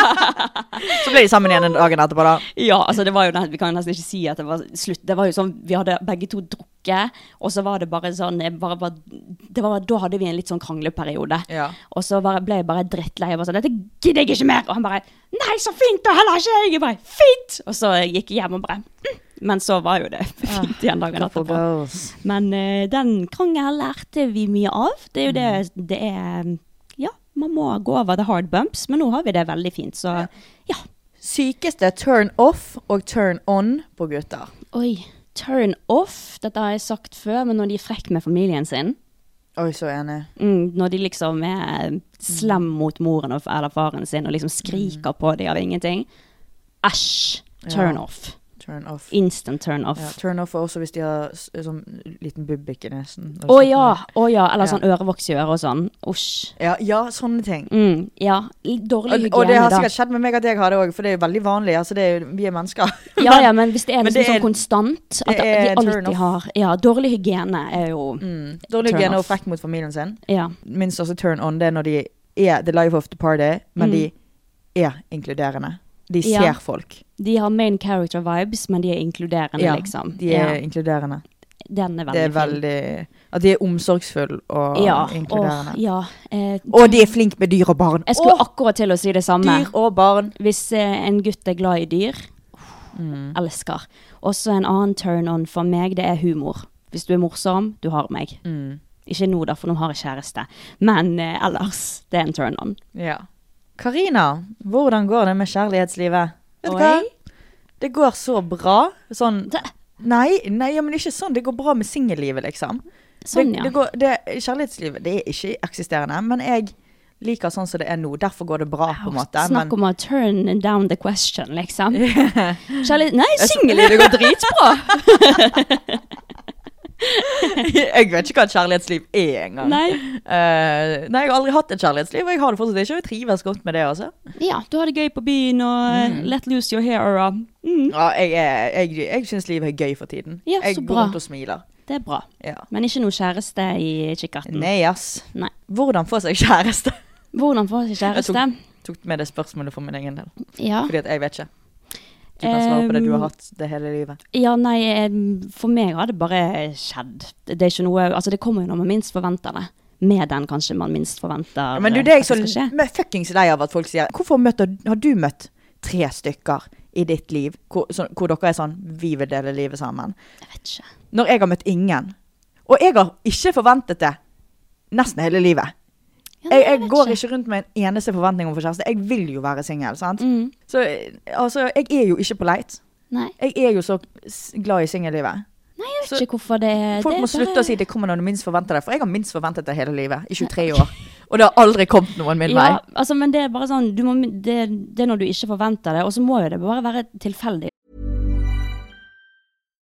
Så ble de sammen igjen en dagen etterpå, da.
Ja, altså det var jo, vi kan nesten ikke si at det var slutt. Det var jo sånn, vi hadde begge to drukket, og så var det bare sånn, jeg bare, var- det var, da hadde vi en litt sånn krangleperiode.
Ja.
Og så bare, ble jeg bare drittlei, og bare sånn, dette gidder jeg ikke mer. Og han bare, nei, så fint, da heller ikke jeg. Jeg bare, fint! Og så gikk jeg hjem og bare, mm. men så var jo det fint igjen dagen etterpå. Men eh, den krangelen lærte vi mye av. Det er jo det, det er, ja, man må gå over the hard bumps, men nå har vi det veldig fint, så ja.
Sykeste turn off og turn on på gutter.
Oi, turn off. Dette har jeg sagt før, men når de er frekk med familien sin.
Oi, så enig.
Mm, når de liksom er slem mot moren og- eller faren sin og liksom skriker på dem av ingenting. Æsj. Turn off.
Turn off.
Instant turn off.
Ja, turn off er også hvis de har s- sånn liten bubbik i nesen.
Å ja, å ja. Eller sånn ørevoks i øret og sånn. Usj.
ja. Ja, sånne ting.
Mm, ja. Litt Dårlig
Og,
hygiene,
og det har
da.
sikkert skjedd med meg at jeg har det òg, for det er jo veldig vanlig. Altså, det er, jo- vi er mennesker.
Ja, ja, men hvis det er
Men
liksom
det er-
sånn konstant At
det er
de
turn off.
alltid
Mm.
har Ja, dårlig hygiene er jo
Dårlig
Turn
hygiene og
off.
frekk mot familien sin.
Ja.
Min største turn on det er når de er the life of the party, men de er inkluderende. De ser
Mm. Ja.
folk.
De har main character vibes, men de er inkluderende,
Ja,
liksom.
de er
ja.
inkluderende.
Den er veldig
Det er
fin.
veldig At de er omsorgsfulle og
ja,
inkluderende.
åh, ja. Eh,
Og de er flinke med dyr og barn.
jeg skulle
Åh,
akkurat til å si det samme.
dyr og barn.
Hvis eh, en gutt er glad i dyr,
Mm.
elsker. Også en annen turn on for meg, det er humor. Hvis du er morsom, du har meg.
Mm.
Ikke nå da, for nå har jeg kjæreste. Men eh, ellers, det er en turn on.
Ja. Karina, hvordan går det med kjærlighetslivet? Vet du hva?
Oi.
Det går så bra. Sånn
Det,
Nei, nei ja, men ikke sånn. Det går bra med singellivet, liksom.
sånn,
det,
ja.
det går, det, kjærlighetslivet det er ikke eksisterende, men jeg liker sånn som det er nå. Derfor går det bra, på en måte.
Snakk
men,
om å turn down the question, liksom. Kjærlighet Nei, singel!
det går dritbra! jeg vet ikke hva et kjærlighetsliv er engang.
Nei.
Eh, nei, jeg har aldri hatt et kjærlighetsliv, og jeg har det fortsatt ikke. Og jeg trives godt med det, altså.
Ja, du har det gøy på byen og eh,
Mm.
let loose your hair. Og, mm,
Ja, jeg er- jeg, jeg syns livet er gøy for tiden.
Ja,
jeg
så
går
bra.
rundt og smiler.
det er bra.
Ja.
Men ikke noe kjæreste i kikkerten.
Nei, ass.
Mm. Nei.
Hvordan få seg kjæreste?
Hvordan få seg
Jeg
kjæreste?
tok, tok med det spørsmålet for min egen del.
Ja.
Fordi at jeg vet ikke. Du kan svare på det du har
Em,
hatt det hele livet.
eh, ja, nei, em, for meg har det bare skjedd. Det er ikke noe Altså, det kommer jo når man minst forventer det. Med den kanskje man minst forventer eh,
Men du, det er jeg
at
så
skal skje.
l- fuckings lei av at folk sier Hvorfor møter, har du møtt tre stykker i ditt liv hvor, så, hvor dere er sånn Vi vil dele livet sammen.
Jeg vet ikke.
Når jeg har møtt ingen. Og jeg har ikke forventet det nesten hele livet.
Ja, nei,
Jeg, jeg
vet
går ikke rundt med en eneste forventning om å få kjæreste. Jeg vil jo være singel, sant.
Mm,
Så eh, altså, jeg er jo ikke på leit.
Nei,
Jeg er jo så s- glad i singellivet.
nei, jeg vet
Så
ikke hvorfor det
Folk
Eh, det er
må slutte å
bare-
si 'det kommer når du minst forventer det', for jeg har minst forventet det hele livet. I 23 år. Og det har aldri kommet noen min vei.
Ja, altså, men det er bare sånn du må, det, det er når du ikke forventer det, og så må jo det bare være tilfeldig.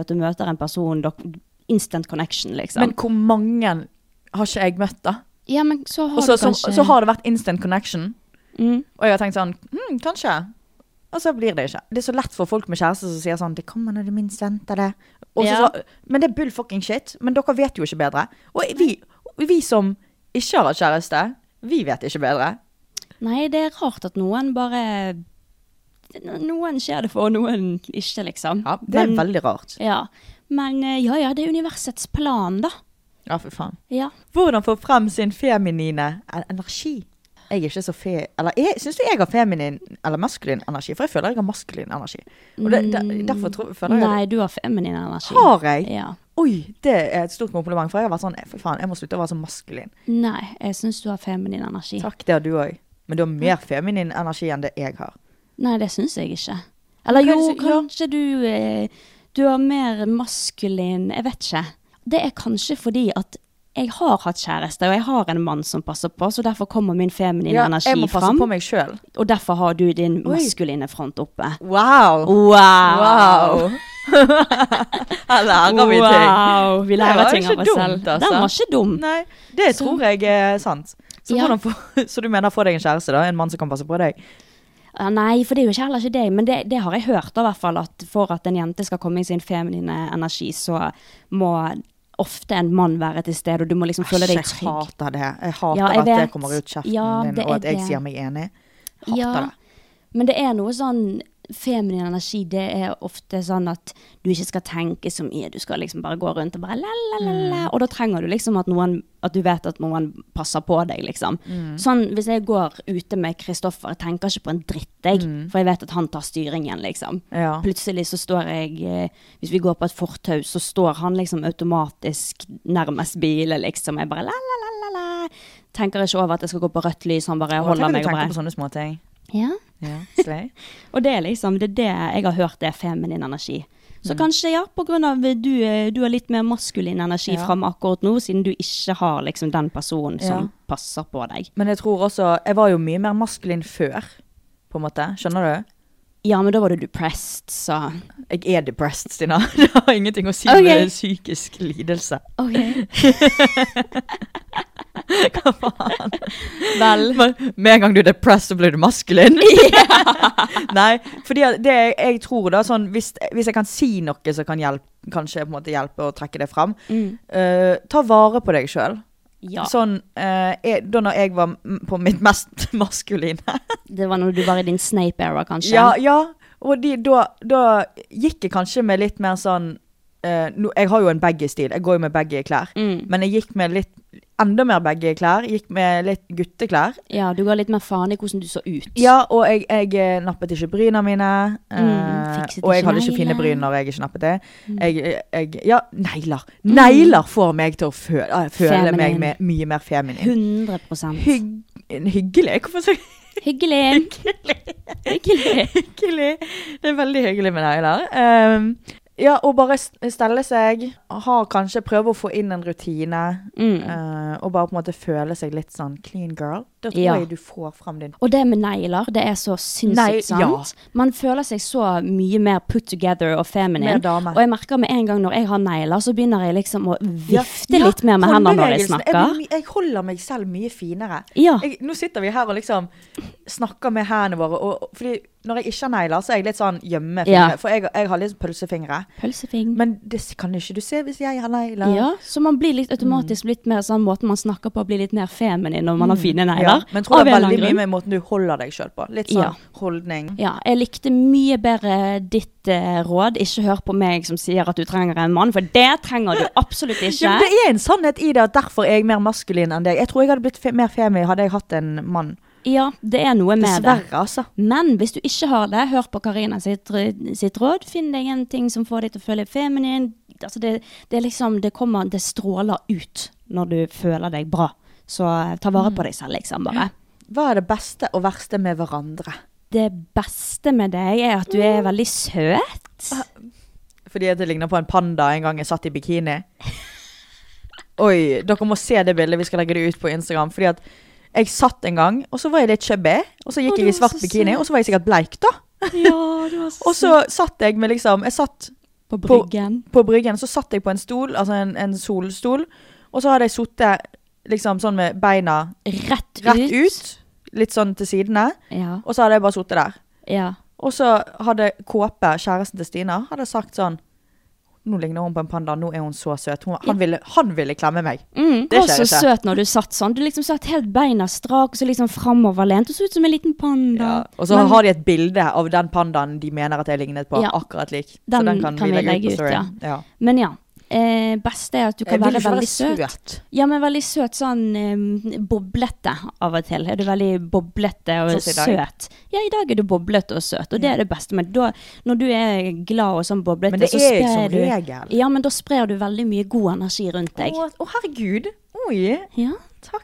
At du møter en person, dok- instant connection, liksom.
Men hvor mange har ikke jeg møtt, da?
ja, men så har
Og så,
du
så,
kanskje
så har det vært instant connection.
mm.
Og jeg har tenkt sånn hm, kanskje. Og så blir det ikke. Det er så lett for folk med kjæreste som sier sånn Det kommer når du minst venter det. Og så,
Ja.
så- men det er bull fucking shit. Men dere vet jo ikke bedre. Og vi, vi som ikke har hatt kjæreste, vi vet ikke bedre.
Nei, det er rart at noen bare Noen skjer det for, og noen ikke, liksom.
Ja, det er
men,
veldig rart.
Ja. Men eh, ja ja, det er universets plan, da.
Ja, for faen.
Ja.
Hvordan få frem sin feminine en- energi? Jeg er ikke så fe... Eller jeg syns du jeg har feminin eller maskulin energi? For jeg føler jeg har maskulin energi. Og det, der, derfor tror, føler jeg
Nei, du har feminin energi.
Har jeg?
Ja.
Oi, det er et stort kompliment, for jeg har vært sånn Fy faen, jeg må slutte å være så maskulin.
Nei, jeg syns du har feminin energi.
Takk, det har du òg. Men du har mer feminin energi enn det jeg har.
Nei, det syns jeg ikke. Eller
Hva er
jo,
det som- ja.
kanskje du eh, Du har mer maskulin Jeg vet ikke. Det er kanskje fordi at jeg har hatt kjæreste, og jeg har en mann som passer på, så derfor kommer min feminine
Ja,
energi
jeg må passe
fram.
på meg sjøl.
Og derfor har du din
Oi.
maskuline front oppe.
Wow!
Wow!
Wow! Her lærer vi ting.
Wow, vi
Det
lærer
var
ting
ikke
av oss selv.
dumt, altså.
Den var ikke dum.
Nei, det tror jeg er sant. Så,
Ja. Ah,
hvordan få, så du mener få deg en kjæreste, da? En mann som kan passe på deg?
Ja, Nei, for det er jo ikke heller ikke deg, men det, det har jeg hørt da, i hvert fall, at for at en jente skal komme i sin feminine energi, så må ofte en mann være til stede, og du må liksom føle deg
Jeg
trygg.
hater det. Jeg hater
Ja, jeg
at det
vet.
kommer ut kjeften
Ja,
din,
det
og
er
at jeg
det.
sier meg enig. Hater det.
Men det er noe sånn Feminin energi det er ofte sånn at du ikke skal tenke så mye. Du skal liksom bare gå rundt og bare
Mm.
la-la-la. Og da trenger du liksom at noen At du vet at noen passer på deg, liksom.
Mm.
Sånn hvis jeg går ute med Kristoffer, jeg tenker ikke på en dritt, jeg. For jeg vet at han tar styringen, liksom.
Mm. Ja.
Plutselig så står jeg eh, Hvis vi går på et fortau, så står han liksom automatisk nærmest bilen, liksom. Jeg bare la-la-la-la. Tenker ikke over at jeg skal gå på rødt lys, han bare
Tenk
holder
at du
meg
tenker
og
på sånn?
bare
sånne småting.
ja.
Ja, slay.
Og det er liksom, det er det jeg har hørt det er feminin energi.
Mm.
Så kanskje, ja, på grunn av du, eh, du har litt mer maskulin energi
Ja.
fram akkurat nå, siden du ikke har liksom den personen
Ja.
som passer på deg.
Men jeg tror også Jeg var jo mye mer maskulin før, på en måte. Skjønner du?
Ja, men da var du depressed, så
Jeg er depressed, Stina. Det har ingenting å si
Ok.
med psykisk lidelse. Hva faen? Vel. Med en gang du er depressed, så blir du maskulin. Nei, fordi at det jeg- jeg tror da, sånn, hvis, hvis jeg kan si noe som kan hjelpe, kanskje på en måte hjelpe å trekke det fram, eh, ta vare på deg sjøl.
Mm. Ja,
Sånn, eh, jeg, da når jeg var m- på mitt mest maskuline
det var når du var i din snape era, kanskje.
Ja, ja. Og de, da, da gikk jeg kanskje med litt mer sånn eh, nå- Jeg har jo en baggy-stil, jeg går jo med baggy klær.
Mm.
Men jeg gikk med litt enda mer baggy klær. Gikk med litt gutteklær.
Ja, du ga litt mer faen i hvordan du så ut.
Ja, og jeg, jeg eh, nappet ikke bryna mine. eh,
Mm, fikset
og jeg
ikke Mm.
hadde ikke fine
negler.
bryn når jeg ikke nappet det. Jeg, jeg, ja, negler. Negler får meg til å føle, ah, føle meg
Feminin.
me- mye mer feminin.
100
Hygg, hyggelig? Hvorfor sier jeg
Hyggelig. Hyggelig.
Hyggelig. Det er veldig hyggelig med negler. Um, Ja, og bare s- stelle seg, ha kanskje prøve å få inn en rutine,
Mm.
eh, og bare på en måte føle seg litt sånn clean girl. Da tror
Ja.
jeg du får fram din
Og det med negler, det er så
Nei,
sinnssykt
ja.
sant. Man føler seg så mye mer put together og
Mer
feminine.
dame.
Og jeg merker med en gang når jeg har negler, så begynner jeg liksom å
Ja,
vifte
ja,
litt mer med hendene når jeg
håndbevegelsen.
snakker.
blir my- jeg holder meg selv mye finere.
Ja.
Jeg, nå sitter vi her og liksom snakker med hendene våre. Og, og, fordi når jeg ikke har negler, så er jeg litt sånn gjemme fingre.
Ja.
For jeg, jeg har litt pølsefingre.
Pølsefing.
Men det s- kan ikke du se hvis jeg har negler.
Ja, så man blir litt automatisk litt mer sånn måten man snakker på, blir litt mer feminin når man har fine
Mm. Ja,
negler.
men jeg tror
Av
det
en
er
eller annen
veldig mye
grunn.
med måten du holder deg sjøl på. Litt sånn
Ja.
holdning.
Ja, jeg likte mye bedre ditt eh, råd. Ikke hør på meg som sier at du trenger en mann, for det trenger du absolutt ikke.
Ja, men det er en sannhet i det at derfor er jeg mer maskulin enn deg. Jeg tror jeg hadde blitt fe mer femi hadde jeg hatt en mann.
Ja, det er noe med det.
Dessverre, altså.
Men hvis du ikke har det, hør på Karina sitt, sitt råd. Finn deg en ting som får deg til å føle feminin. Altså det, det, er liksom, det, kommer, det stråler ut når du føler deg bra. Så eh, ta vare
Mm.
på deg selv, liksom, bare.
Hva er det beste og verste med hverandre?
Det beste med deg er at du
Mm.
er veldig søt.
Ah, Fordi at det ligner på en panda en gang jeg satt i bikini. Oi, dere må se det bildet. Vi skal legge det ut på Instagram. Fordi at jeg satt en gang, og så var jeg litt chubby. Og så
Å,
gikk
du
jeg
var
i svart
så
bikini,
søt.
og så var jeg sikkert bleik, da.
Ja, du var
Og så
Altså.
satt jeg med liksom Jeg satt
På bryggen.
på bryggen, så satt jeg på en stol, altså en, en solstol, og så hadde jeg sittet liksom sånn med beina
Rett ut.
rett ut, litt sånn til sidene,
Ja.
og så hadde jeg bare sittet der.
ja.
Og så hadde Kåpe, kjæresten til Stina, hadde sagt sånn Nå ligner hun på en panda, nå er hun så søt. Hun, han, ville, han ville klemme meg.
Mm,
Det
det var
skjer
så
ikke.
søt når du satt sånn. Du liksom satt helt beina strak og så liksom framoverlent. Du så ut som en liten panda.
Ja. Og så har de et bilde av den pandaen de mener at jeg lignet på,
Ja.
akkurat lik.
Den kan vi legge ut,
storyen.
ja. Men ja. Eh, beste er at du
Jeg
kan
vil
være
ikke
veldig
være
søt.
søt.
Ja, men veldig søt sånn eh, boblete av og til. Er du veldig boblete og
Sånn som i dag?
søt? Ja, i dag er du boblete og søt, og det er det beste. Men da, når du er glad og sånn boblete,
Men det
så
er jeg
sprer
som
du
regel.
Ja, men da sprer du veldig mye god energi rundt deg.
Å, å, herregud. Oi.
Ja.
Takk.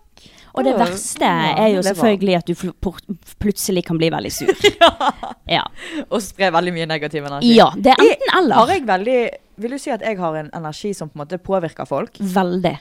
Og det
Å,
verste
ja,
er jo
det var-
selvfølgelig at du fl- por- plutselig kan bli veldig sur. ja.
Og spre veldig mye negativ energi.
ja. Det er enten
Har
eller.
jeg veldig Vil du si at jeg har en energi som på en måte påvirker folk?
Veldig.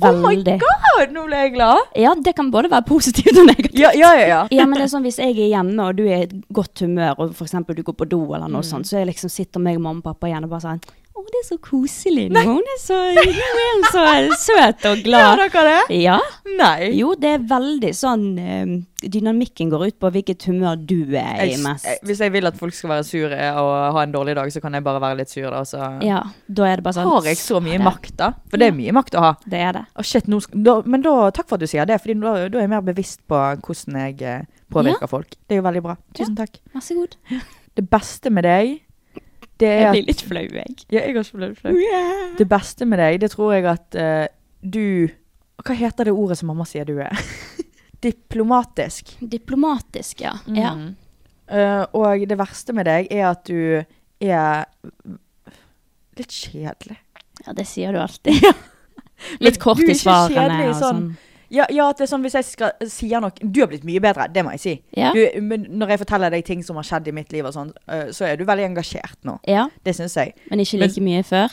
Oh my
Veldig.
god, nå ble jeg glad!
Ja, det kan både være positivt og negativt.
Ja, ja, ja. ja.
Ja, men det er sånn Hvis jeg er hjemme og du er i et godt humør, og f.eks. du går på do, eller noe
Mm.
sånt, så jeg liksom sitter meg og mamma og pappa igjen og bare sånn Å, det er så koselig nå. Hun er så, nå er hun så søt og glad.
Gjør dere det?
Ja.
Nei.
Jo, det er veldig sånn eh, Dynamikken går ut på hvilket humør du er i
Jeg- jeg-
mest.
Hvis jeg vil at folk skal være sure og ha en dårlig dag, så kan jeg bare være litt sur, da. Så
Ja, da er det bare sånn
har jeg så mye
det.
makt, da. For det er mye makt å ha.
Det er det.
Å, shit, nå sk- da, men da, takk for at du sier det, for da, da er jeg mer bevisst på hvordan jeg eh, påvirker
Ja.
folk. Det er jo veldig bra. Tusen takk.
Vær så god.
Det beste med deg, det er
Jeg
at
blir litt flau, jeg.
Ja, jeg har ikke blitt flau. Det beste med deg, det tror jeg at eh, du Hva heter det ordet som mamma sier du er? Diplomatisk.
Diplomatisk, ja.
Mm.
ja.
Eh, og det verste med deg er at du er litt kjedelig.
Ja, det sier du alltid. Litt kort
du er
i
ikke
svarene
kjedelig
og sånn.
sånn. Ja, ja, at det er sånn hvis jeg skal, sier noe Du har blitt mye bedre, det må jeg si.
Ja.
Du, men når jeg forteller deg ting som har skjedd i mitt liv, og sånn, eh, så er du veldig engasjert nå.
Ja,
Det syns jeg.
men ikke like mye før.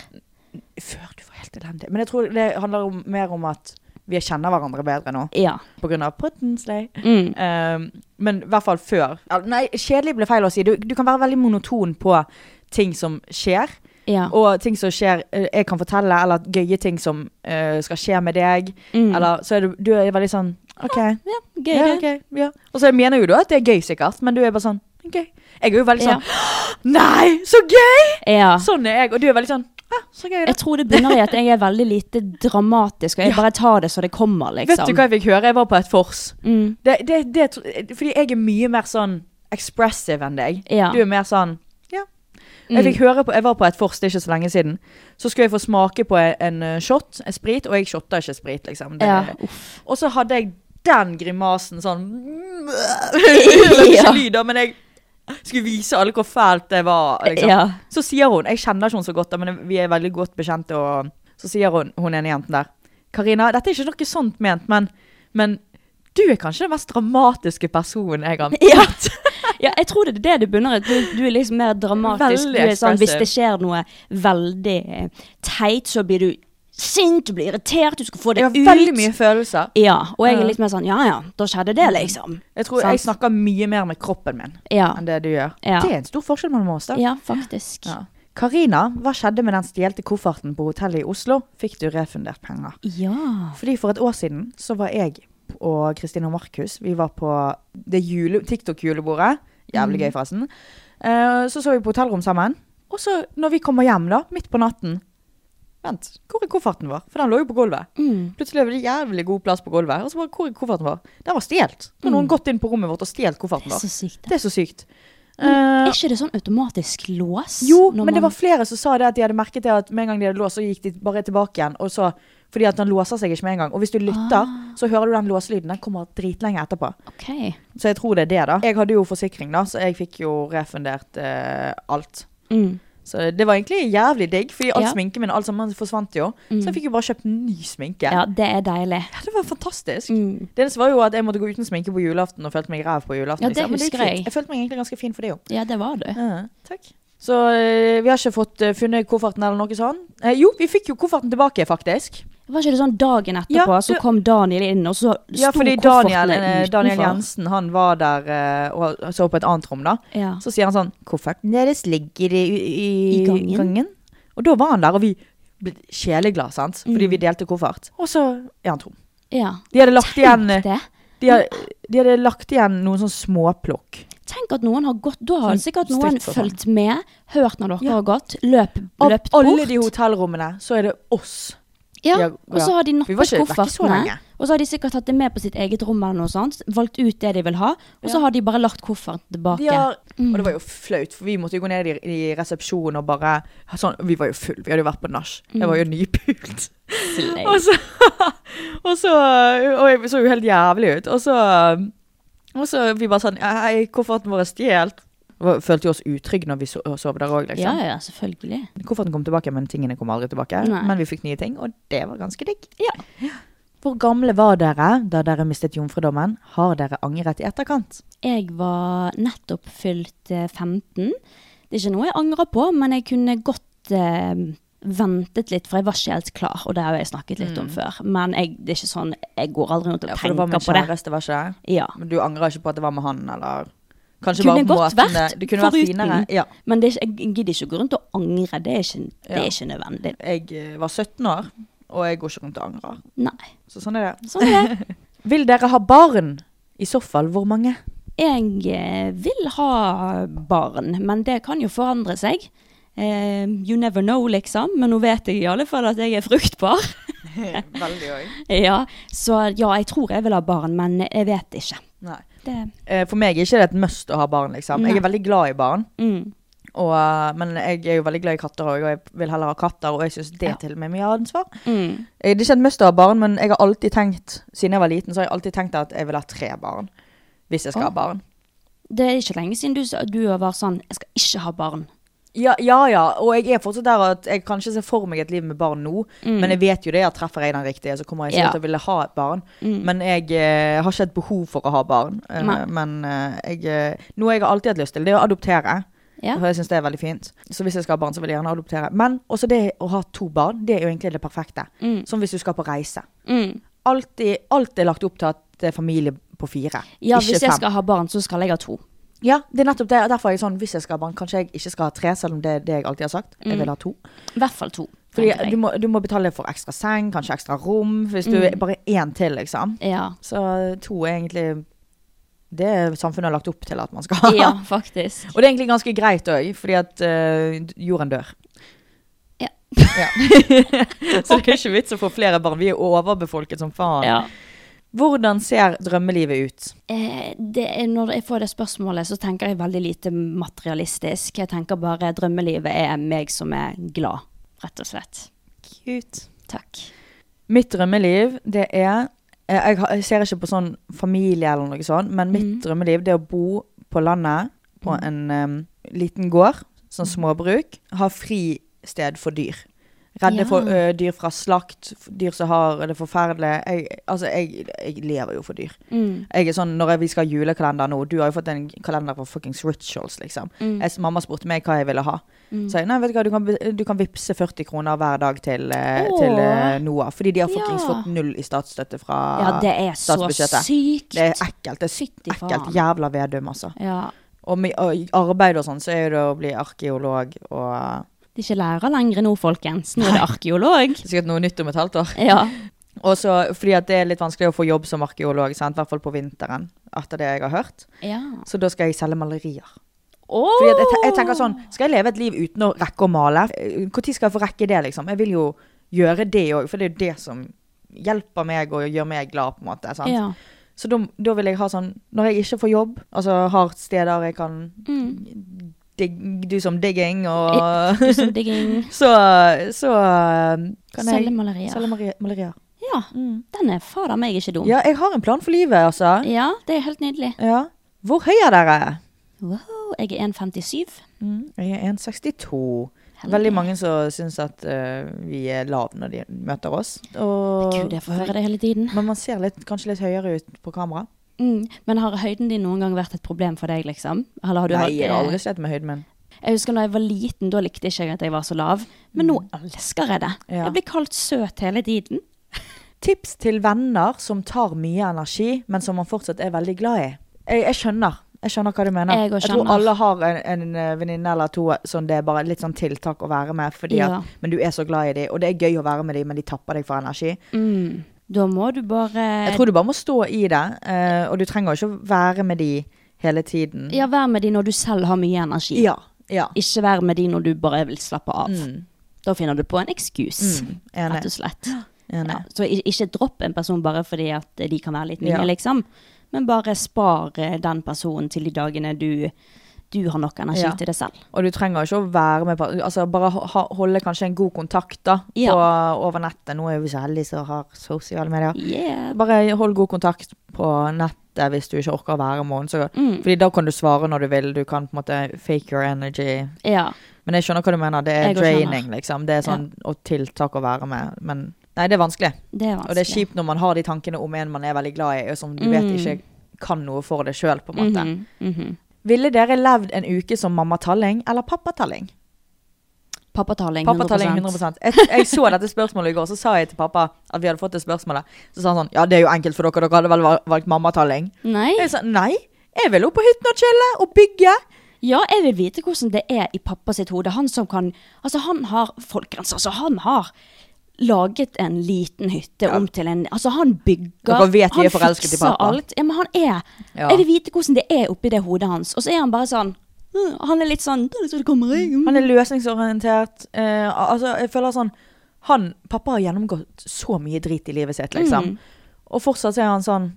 Før du var helt elendig. Men jeg tror det handler om, mer om at vi kjenner hverandre bedre nå
Ja.
pga. Pottensley.
Mm.
Um, men i hvert fall før. Ja, Nei, kjedelig ble feil å si. Du, du kan være veldig monoton på ting som skjer.
Ja.
Og ting som skjer eh, jeg kan fortelle, eller gøye ting som eh, skal skje med deg.
Mm.
Eller så er du, du er veldig sånn OK.
ja, gøy
Ja,
det.
ok, ja. Og så mener jo du at det er gøy, sikkert, men du er bare sånn OK. Jeg er jo veldig
Ja.
sånn Nei, så gøy!
Ja.
Sånn er jeg. Og du er veldig sånn Ja, så gøy,
Jeg
da.
tror det bunner i at jeg er veldig lite dramatisk, og jeg bare tar det så det kommer, liksom.
Vet du hva jeg fikk høre? Jeg var på et vors.
Mm.
Det, det, det, tro- fordi jeg er mye mer sånn expressive enn deg.
Ja. Mm.
Du er mer sånn ja. Jeg fikk høre på, jeg var på et vors det er ikke så lenge siden. Så skulle jeg få smake på en eh, shot, en sprit, og jeg shotta ikke sprit, liksom. Det,
Ja,
Og så hadde jeg den grimasen sånn Eller
Ja.
ikke lyder, men jeg skulle vise alle hvor fælt det var. Liksom.
Ja.
Så sier hun Jeg kjenner ikke hun så godt, da, men vi er veldig godt bekjente. Og så sier hun, hun ene jenten der Karina, dette er ikke noe sånt ment, men, men Du er kanskje den mest dramatiske personen jeg har møtt.
Ja. ja, jeg tror det er det du bunner i. Du, du er liksom mer dramatisk.
Veldig
Du er sånn, hvis
expressive.
det skjer noe veldig eh, teit, så blir du sint, du blir irritert, du skal få det
Jeg har
ut.
veldig mye følelser.
Ja, og jeg
Ja. Mm.
er litt mer sånn ja ja, da skjedde det, liksom.
Jeg tror jeg snakker mye mer med kroppen min
Ja.
enn det du gjør.
Ja.
Det er en stor forskjell mellom oss. da.
Ja, faktisk.
Ja. Karina, hva skjedde med den stjelte kofferten på hotellet i Oslo? Fikk du refundert penger?
Ja.
Fordi for et år siden så var jeg og Kristine og Markus, vi var på det jule, TikTok-julebordet. Jævlig
Mhm.
gøy forresten. Eh, så så vi på hotellrom sammen. Og så når vi kommer hjem da, midt på natten. Vent, hvor er kofferten vår? For den lå jo på gulvet. Plutselig var det jævlig god plass på gulvet. Og så bare, hvor er kofferten vår? Den var stjelt. Nå
Mhm.
har noen gått inn på rommet vårt og stjelt kofferten
Det
vår.
er så sykt.
Det er så sykt.
Er
Eh,
ikke det sånn automatisk lås?
jo,
når
men det var
man-
flere som sa det at de hadde merket det at med en gang de hadde låst, så gikk de bare tilbake igjen. Og så, fordi at den låser seg ikke med en gang. Og hvis du lytter, så hører du den låselyden. Den kommer dritlenge etterpå.
Ah. Ok.
Så jeg tror det er det, da. Jeg hadde jo forsikring, da, så jeg fikk jo refundert eh, alt.
Mm.
Så det var egentlig jævlig digg, fordi all
Ja.
sminken min alt sammen forsvant jo. Så jeg fikk jo bare kjøpt ny sminke.
Mm. Ja, det er deilig.
Ja, det var fantastisk.
Mm.
Det eneste var jo at jeg måtte gå uten sminke på julaften og følte meg ræv på julaften.
Ja, det
liksom. Men gikk
husker
fint.
jeg.
Jeg følte meg egentlig ganske fin for det, jo.
Ja, det var du.
Ja, takk. Så eh, vi har ikke fått eh, funnet kofferten eller noe sånn. Eh, jo, vi fikk jo kofferten tilbake, faktisk.
Var ikke det sånn dagen etterpå,
Ja,
så
du-
kom Daniel inn, og så sto
Ja, fordi Daniel,
koffertene
eh,
utenfor?
Daniel Jensen han var der eh, og så på et annet rom, da.
Ja.
Så sier han sånn 'Kofferten deres ligger i, i,
I gangen.»
Og da var han der, og vi ble sjeleglade, sant. Fordi vi delte koffert. Og så er han tom.
ja.
De hadde lagt igjen, eh,
Tenk det.
de hadde, de hadde lagt igjen noen sånn småplukk.
Tenk at noen har gått Da har
Sånn
sikkert noen
strikt for faen.
fulgt med, hørt når dere
Ja.
har gått, løp,
Av
løpt
alle
bort.
de hotellrommene, så er det oss.
ja.
Ja,
Og så
ja.
har de
Vi var
nappet
ikke vekk så lenge.
koffertene. Og så har de sikkert tatt det med på sitt eget rom, eller noe sånt, valgt ut det de vil ha, og så har de bare lagt kofferten tilbake.
De har,
Mm.
og det var jo flaut, for vi måtte jo gå ned i, i resepsjonen og bare sånn, Vi var jo full, vi hadde jo vært på nach. Jeg
Mm.
var jo nypult.
Slay.
Og så, og så Og jeg så jo helt jævlig ut. Og så, og så vi bare sånn Hei, kofferten vår er stjålet. Og Følte jo oss utrygge når vi so- sov der òg,
Ja,
liksom.
ja, selvfølgelig.
Kofferten kom tilbake, men tingene kom aldri tilbake.
Nei.
Men vi fikk nye ting, og det var ganske digg.
Ja.
Hvor gamle var dere da dere mistet jomfrudommen? Har dere angret i etterkant?
Jeg var nettopp fylt eh, 15. Det er ikke noe jeg angrer på, men jeg kunne godt eh, ventet litt, for jeg var ikke helt klar. Og det har jeg snakket litt om før. Men jeg, det er ikke sånn, jeg går aldri rundt
Mm.
og
Ja, for det var
tenker
med
på det.
kjæreste, var ikke det?
Ja.
Men du angrer ikke på at det var med han, eller? Kanskje
Kunne
bare
godt
måten
vært
det kunne vært
foruten.
finere. Ja.
Men det er, ikke- jeg gidder ikke å gå rundt og angre. Det er ikke, det
Ja.
er ikke nødvendig.
Jeg eh, var 17 år, og jeg går ikke rundt og angrer.
Nei.
Så sånn er det.
Sånn er det.
Vil dere ha barn? I så fall, hvor mange?
Jeg eh, vil ha barn, men det kan jo forandre seg. Eh, you never know, liksom. Men nå vet jeg i alle fall at jeg er fruktbar.
Veldig òg.
Ja, så ja, jeg tror jeg vil ha barn, men jeg vet ikke.
Nei.
Det,
Eh, For meg er ikke det et must å ha barn, liksom. Jeg er veldig glad i barn.
mm.
Og, eh, men jeg er jo veldig glad i katter òg, og jeg vil heller ha katter. Og jeg syns det
Ja.
til og med er mye ansvar.
Mm.
Eh, Det er ikke et must å ha barn, men jeg har alltid tenkt, siden jeg var liten, så har jeg alltid tenkt at jeg vil ha tre barn. Hvis jeg skal
Å.
ha barn.
det er ikke lenge siden du, sa- du var sånn 'Jeg skal ikke ha barn'.
Ja, ja, ja, og jeg er fortsatt der at jeg kan ikke se for meg et liv med barn nå. Men jeg vet jo det at treffer jeg den riktige, så kommer jeg sikkert
Mm. Ja.
til å ville ha et barn.
Mm.
Men jeg eh, har ikke et behov for å ha barn. Eh,
Nei.
men eh, jeg, eh, noe jeg har alltid hatt lyst til, det er å adoptere.
Ja.
For jeg syns det er veldig fint. Så hvis jeg skal ha barn, så vil jeg gjerne adoptere. Men også det å ha to barn, det er jo egentlig det perfekte. Som hvis du skal på reise.
Mm.
Alltid, alt er lagt opp til at det er familie på fire,
Ja,
ikke
hvis jeg
fem.
skal ha barn, så skal jeg ha to.
Ja, det er nettopp det. og Derfor er jeg sånn, hvis jeg skal ha barn, kanskje jeg ikke skal ha tre, selv om det er det jeg alltid har sagt.
Mm.
Jeg vil ha to.
I hvert fall to.
Fordi
tenker jeg.
du må, du må betale for ekstra seng, kanskje ekstra rom, hvis du
Mm.
bare er én til, liksom.
ja.
Så to er egentlig det er samfunnet har lagt opp til at man skal ha.
ja, faktisk.
Og det er egentlig ganske greit òg, fordi at eh, jorden dør.
Ja.
Ja. Så det er ikke vits å få flere barn. Vi er overbefolket som faen.
Ja.
Hvordan ser drømmelivet ut?
Eh, det er, når jeg får det spørsmålet, så tenker jeg veldig lite materialistisk. Jeg tenker bare drømmelivet er meg som er glad, rett og slett.
Cute.
Takk.
Mitt drømmeliv, det er eh, Jeg har- jeg ser ikke på sånn familie eller noe sånt, men mitt
Mm.
drømmeliv det er å bo på landet, på
Mm.
en em, liten gård, sånn småbruk. Ha fristed for dyr. Redde
Ja.
for, ø, dyr fra slakt, f- dyr som har det forferdelig. Jeg, altså, jeg, jeg lever jo for dyr.
Mm,
Jeg er sånn, Når jeg, vi skal ha julekalender nå Du har jo fått en kalender fra fuckings Rituals, liksom.
mm,
Jeg, s- mamma spurte meg hva jeg ville ha. Så jeg nei, vet du hva, du kan, be- du kan vippse 40 kroner hver dag til, eh,
Åh.
til eh, Noah. Fordi de har fuckings
Ja.
fått null i statsstøtte fra
Ja, det er så
statsbudsjettet.
sykt.
Det er ekkelt. Det er sykt
Fytti
ekkelt.
faen.
Jævla Vedum, altså.
Ja.
Og med og i arbeid og sånn, så er det å bli arkeolog og
Det er ikke lærer lenger nå, folkens. Nå er det arkeolog.
Sikkert noe nytt om et halvt år.
Ja.
Og så fordi at det er litt vanskelig å få jobb som arkeolog, sant? i hvert fall på vinteren, etter det jeg har hørt.
ja.
Så da skal jeg selge malerier.
Oh!
Fordi at jeg, te- jeg tenker sånn, skal jeg leve et liv uten å rekke å male? Når skal jeg få rekke det, liksom? Jeg vil jo gjøre det òg, for det er jo det som hjelper meg og gjør meg glad, på en måte. sant?
Ja.
Så da, da vil jeg ha sånn Når jeg ikke får jobb, altså har steder jeg kan
Mm.
digg, do som digging og
Du som digging.
så, så um, kan jeg
Selge malerier.
Selge mari- malerier.
Ja. Den er fader meg ikke dum.
Ja, jeg har en plan for livet, altså.
Ja, det er helt nydelig.
Ja. Hvor høy er dere?
Wow, jeg er 1,57.
Jeg er 1,62. Veldig mange som syns at eh, vi er lave når de møter oss. Og,
Gud, jeg får høre det hele tiden.
Men man ser litt, kanskje litt høyere ut på kamera.
Mm. Men har høyden din noen gang vært et problem for deg, liksom? Eller har du
Nei,
hatt,
jeg har
eh,
aldri sett med høyden min.
Jeg husker når jeg var liten, da likte ikke jeg at jeg var så lav. Men nå elsker jeg det.
Mm. Ja.
Jeg blir kalt søt hele tiden.
Tips til venner som tar mye energi, men som man fortsatt er veldig glad i. Jeg, jeg skjønner. Jeg skjønner hva du mener.
Jeg òg
tror
skjønner.
alle har en, en eh, venninne eller to som det er bare litt sånn tiltak å være med, fordi
Ja.
at, men du er så glad i dem, og det er gøy å være med dem, men de tapper deg for energi.
Eh. Mm. Da må du bare
Jeg tror du bare må stå i det, eh, og du trenger ikke å være med dem hele tiden.
Ja, vær med de når du selv har mye energi.
Ja. ja. Mm.
Ikke vær med de når du bare vil slappe av. Da finner du på en excuse,
enig.
rett og slett.
Enig.
Ja, så i- ikke dropp en person bare fordi at de kan være litt nye,
Ja.
liksom. Men bare spar eh, den personen til de dagene du, du har nok energi
Ja.
til det selv.
Og du trenger ikke å være med på altså Bare ha, holde kanskje en god kontakt da
Ja.
på, over nettet. Nå er vi så heldige som har sosiale medier.
Yeah.
Bare hold god kontakt på nettet hvis du ikke orker å være med henne. så-
Mm.
Fordi da kan du svare når du vil. Du kan på en måte fake your energy.
Ja.
Men jeg skjønner hva du mener. Det er
Jeg også skjønner.
draining, liksom. Det er sånn og tiltak å være med. Men nei, det er vanskelig.
Det er vanskelig. Mm.
Og det er kjipt når man har de tankene om en man er veldig glad i, og som du vet ikke kan noe for det sjøl, på en måte.
Mhm, mhm.
Ville dere levd en uke som mamma Talling eller pappa Talling?
Pappatalling 100
Pappa Talling 100 jeg, jeg så dette spørsmålet i går, så sa jeg til pappa at vi hadde fått det spørsmålet. Så sa han sånn Ja, det er jo enkelt for dere. Dere hadde vel val- valgt mamma Talling?
Nei.
Jeg sa nei, jeg vil opp på hytten og chille og bygge.
Ja, jeg vil vite hvordan det er i pappa sitt hode. Han som kan Altså, han har folkens, altså, han har laget en liten hytte om til en Altså, han bygger
Dere vet vi
han
er forelsket i
fikser
pappa.
Alt. Ja, men han er
Ja.
Jeg vil vite hvordan det er oppi det hodet hans. Og så er han bare sånn «Mm», Han er litt sånn «Det er så det kommer, jeg». Mm.
Han er løsningsorientert. eh, al- altså, jeg føler sånn han, Pappa har gjennomgått så mye drit i livet sitt, liksom. Og fortsatt så er han sånn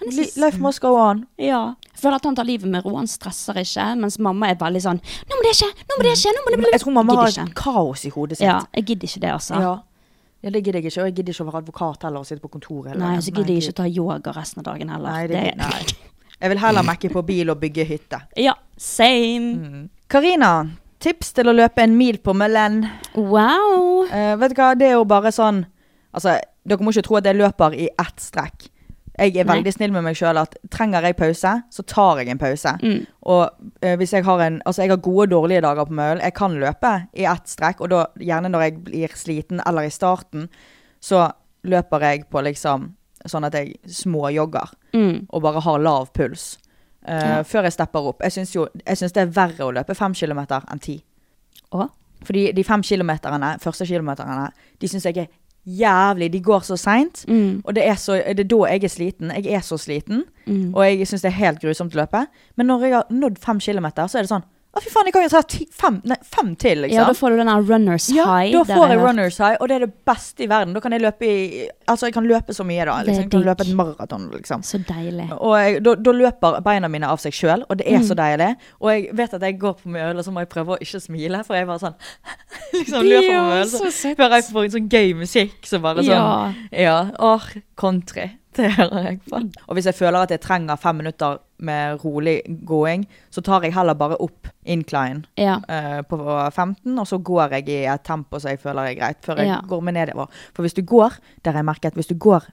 Han er så
"Li- Life must go on.
Ja. Jeg føler at han tar livet med ro, han stresser ikke, mens mamma er veldig sånn 'Nå må det skje! Nå må det skje!' Nå må det bli
Jeg tror mamma har
gidder ikke.
kaos i hodet sitt.
Ja, jeg gidder ikke det, altså.
Ja. Ja, det gidder jeg ikke. Og jeg gidder ikke å være advokat heller og sitte på kontoret. hele
Nei,
dagen.
så gidder jeg
gud.
ikke å ta yoga resten av dagen heller.
Nei, det,
Det-
nei. Jeg vil heller mekke på bil og bygge hytte.
Ja, same.
Karina, tips til å løpe en mil på møllen.
Wow.
Eh, vet du hva, det er jo bare sånn Altså, dere må ikke tro at jeg løper i ett strekk. Jeg er
Nei.
veldig snill med meg sjøl at trenger jeg pause, så tar jeg en pause.
Mm.
Og eh, hvis jeg har en Altså, jeg har gode og dårlige dager på mølen. Jeg kan løpe i ett strekk, og da gjerne når jeg blir sliten eller i starten, så løper jeg på liksom Sånn at jeg småjogger
Mm.
og bare har lav puls. eh, Før jeg stepper opp. Jeg syns jo Jeg synes det er verre å løpe fem kilometer enn ti.
Og?
Fordi de fem kilometerne, første kilometerne, de syns jeg er jævlig. De går så seint.
Mm.
Og det er, så, det er da jeg er sliten. Jeg er så sliten,
Mm.
og jeg syns det er helt grusomt å løpe. Men når jeg har nådd fem kilometer, så er det sånn Å, fy faen, jeg kan jo ta ti, fem, nei, fem til, liksom.
Ja, da får du den der runners
Ja,
high.
da
der
får jeg
hørt-
runners high, og det er det beste i verden. Da kan jeg løpe i Altså, jeg kan løpe så mye, da.
Det er
Liksom. Jeg kan
digg.
løpe et maraton, liksom.
Så deilig.
Og jeg, da, da løper beina mine av seg sjøl, og det er
Mm.
så deilig. Og jeg vet at jeg går på mye øl, og så må jeg prøve å ikke smile, for jeg bare sånn liksom
Det er
løper på
jo
mye øl,
så
så
søtt.
hører jeg på en sånn gøy musikk, så bare sånn Ja.
Ja.
Åh, country. Det hører jeg på. Og hvis jeg føler at jeg trenger fem minutter med rolig gåing, så tar jeg heller bare opp incline
Ja.
eh, på 15, og så går jeg i et tempo som jeg føler er greit, før jeg
Ja.
går meg nedover. For hvis du går, der har jeg merket, hvis du går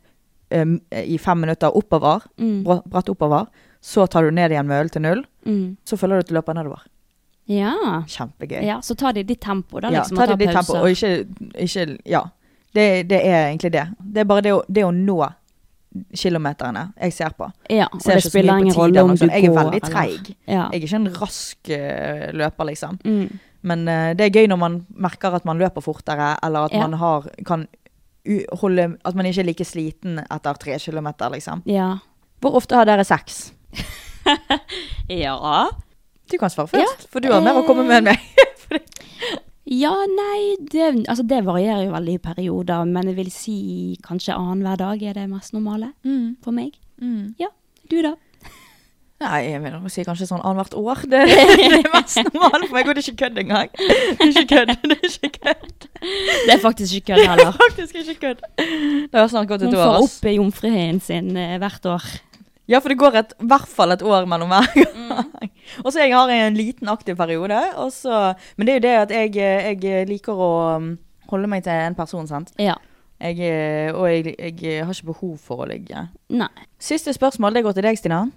em, i fem minutter oppover,
Mm.
bra- bratt oppover, så tar du ned igjen med øl til null,
Mm.
så føler du at du løper nedover.
Ja.
Kjempegøy.
ja. Så ta det i ditt tempo, da.
Ja,
Liksom,
ta
og
det i ditt tempo,
pauser.
og ikke, ikke Ja. Det, det er egentlig det. Det er bare det å, det å nå kilometerne jeg ser på.
Ja, og
Ser
det
ikke så
spiller
mye på
ingen
tid
rolle
eller
om
noe
du
sånt.
går
Jeg er veldig
eller-
treig.
Ja.
Jeg er ikke en rask eh, løper, liksom.
Mm.
Men eh, det er gøy når man merker at man løper fortere, eller at
Ja.
man har, kan u holde At man ikke er like sliten etter tre kilometer, liksom.
Ja.
Hvor ofte har dere sex?
ja.
Du kan svare
Ja.
først, for du har mer å komme med enn meg.
Ja, nei, det, altså det varierer jo veldig i perioder, men jeg vil si kanskje annenhver dag er det mest normale for meg. Ja, du da?
Nei, jeg vil nok si kanskje sånn annethvert år. Det, det er mest normalt for meg, og det er ikke kødd engang. Det er ikke kødd. Det er ikke kødd.
Det er faktisk ikke kødd heller.
Faktisk ikke kødd. Det har snart gått et
Hun får
år. ass.
opp jomfruhøyen sin eh, hvert år.
Ja, for det går et, i hvert fall et år mellom hver gang. Og så jeg har en liten aktiv periode, og så Men det er jo det at jeg, eh, jeg liker å um, holde meg til en person, sant.
Ja.
Jeg, eh, og jeg, jeg har ikke behov for å ligge.
Nei.
Siste spørsmål, det går til deg, Stina.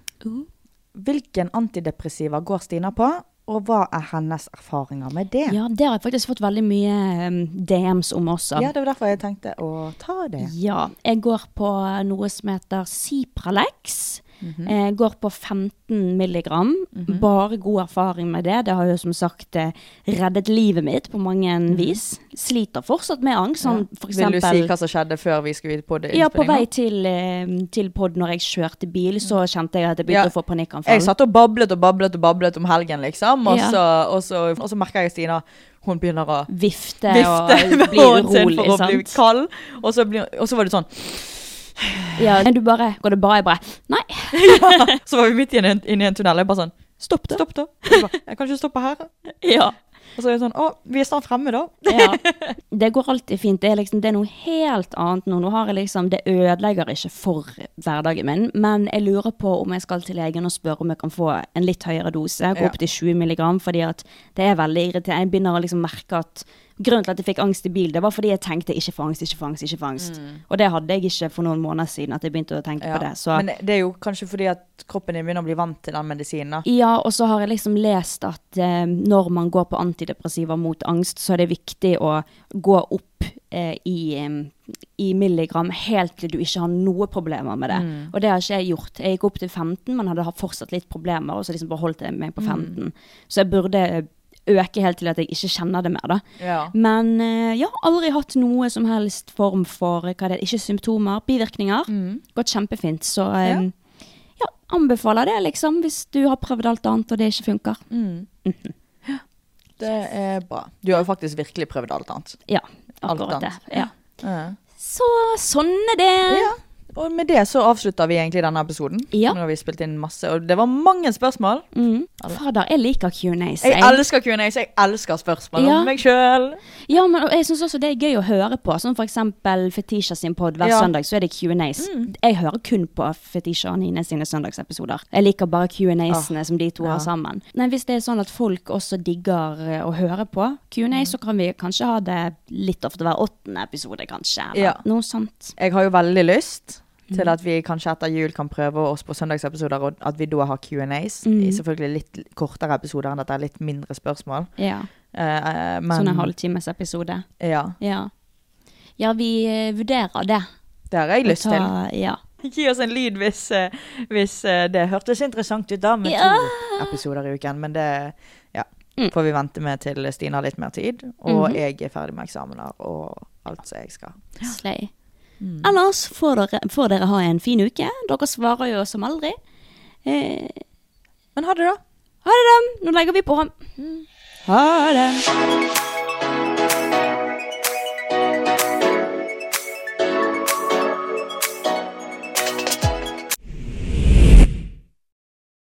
Hvilken antidepressiva går Stina på, og hva er hennes erfaringer med det?
Ja, det har jeg faktisk fått veldig mye eh, DMs om også.
Ja, det var derfor jeg tenkte å ta det.
Ja, jeg går på noe som heter Cipralex.
Mhm.
Eh, Jeg går på 15 milligram. Bare god erfaring med det. Det har jo som sagt eh, reddet livet mitt på mange
Mhm.
vis. Sliter fortsatt med angst, sånn for
Mm, Vil du si
eksempel
hva som skjedde før vi skulle ut på det
ja, på
innspillingen?
vei til, eh, til pod når jeg kjørte bil, så kjente jeg at jeg begynte
Mm. Ja.
å få panikkanfall.
Jeg satt og bablet og bablet og bablet om helgen, liksom. Og,
Ja.
så, og, så, og så merker jeg at Stina hun begynner å
Vifte,
vifte
og
med
bli
hånden sin for
urolig,
å bli
sant.
kald. Og så, blir, og så var det sånn
Ja, men du bare Går det bra? Jeg bare Nei.
sånn, Så var vi midt inne i en, inne i en tunnel. Jeg bare sånn
Stopp det.
Stopp, da. Jeg, bare, jeg kan ikke stoppe her.
Ja.
Og så er det sånn Å, vi er snart fremme, da.
Ja. Det går alltid fint. Det er, liksom, det er noe helt annet nå. nå har jeg liksom, det ødelegger ikke for hverdagen min, men jeg lurer på om jeg skal til legen og spørre om jeg kan få en litt høyere dose, gå
Ja.
opp til 20 mg, fordi at det er veldig irriterende. Jeg begynner å liksom merke at grunnen til at jeg fikk angst i bil, det var fordi jeg tenkte ikke få angst, ikke få angst, ikke få angst. Og det hadde jeg ikke for noen måneder siden at jeg begynte å tenke
Mm. Ja.
på det. Så
Men det er jo kanskje fordi at kroppen din begynner å bli vant til den medisinen. da.
ja, og så har jeg liksom lest at eh, når man går på antidepressiva mot angst, så er det viktig å gå opp eh, i, em, i milligram helt til du ikke har noe problemer med det. Og det har ikke jeg gjort. Jeg gikk opp til 15, men hadde hatt fortsatt litt problemer, og så liksom bare holdt jeg meg på 15. Så jeg burde øke helt til at jeg ikke kjenner det mer, da.
Ja.
Men eh, ja, aldri hatt noe som helst form for eh, hva det er, ikke symptomer, bivirkninger.
Mm.
Gått kjempefint, så eh, ja, anbefaler det liksom hvis du har prøvd alt annet og det ikke funker.
Mm. Det er bra. Du har jo faktisk virkelig prøvd alt annet.
Ja,
Alt
akkurat det.
annet.
Ja. Så sånn er det.
Ja. Og med det så avslutter vi egentlig denne episoden.
Ja.
Nå har vi spilt inn masse, og det var mange spørsmål.
Mm. Fader, jeg liker Q&As.
Jeg
jeg.
elsker Q&A, så jeg elsker spørsmål
Ja.
om meg sjøl.
Ja, men og jeg syns også det er gøy å høre på. Sånn for eksempel Fetisha sin pod hver
Ja. Mm.
søndag, så er det Q&As. Jeg hører kun på Fetisha og Nine sine søndagsepisoder. Jeg liker bare
Ah,
Q&As-ene som de to har sammen. Nei, hvis det er sånn at folk også digger eh, å høre på Q&A,
Mm.
så kan vi kanskje ha det litt ofte hver åttende episode, kanskje. Eller
Ja.
noe sånt.
Jeg har jo veldig lyst
Mm.
til at vi kanskje etter jul kan prøve oss på søndagsepisoder, og at vi da har Q&As.
Mm.
I Selvfølgelig litt kortere episoder enn dette, litt mindre spørsmål.
Ja.
Eh, eh, men
Sånn en halvtimes episode.
ja,
Ja. Ja, vi eh, vurderer det.
det har jeg lyst til.
Ta- Ja.
Gi oss en lyd hvis, eh, hvis eh, det hørtes interessant ut da, med
Ja.
to episoder i uken. Men det ja,
Mm.
får vi vente med til Stina har litt mer tid, og
Mhm.
jeg er ferdig med eksamener og alt som jeg skal.
Slay. Ellers får dere, får dere ha en fin uke. Dere svarer jo som aldri. Eh,
Men ha det, da.
ha det, da. Nå legger vi på.
Ha det.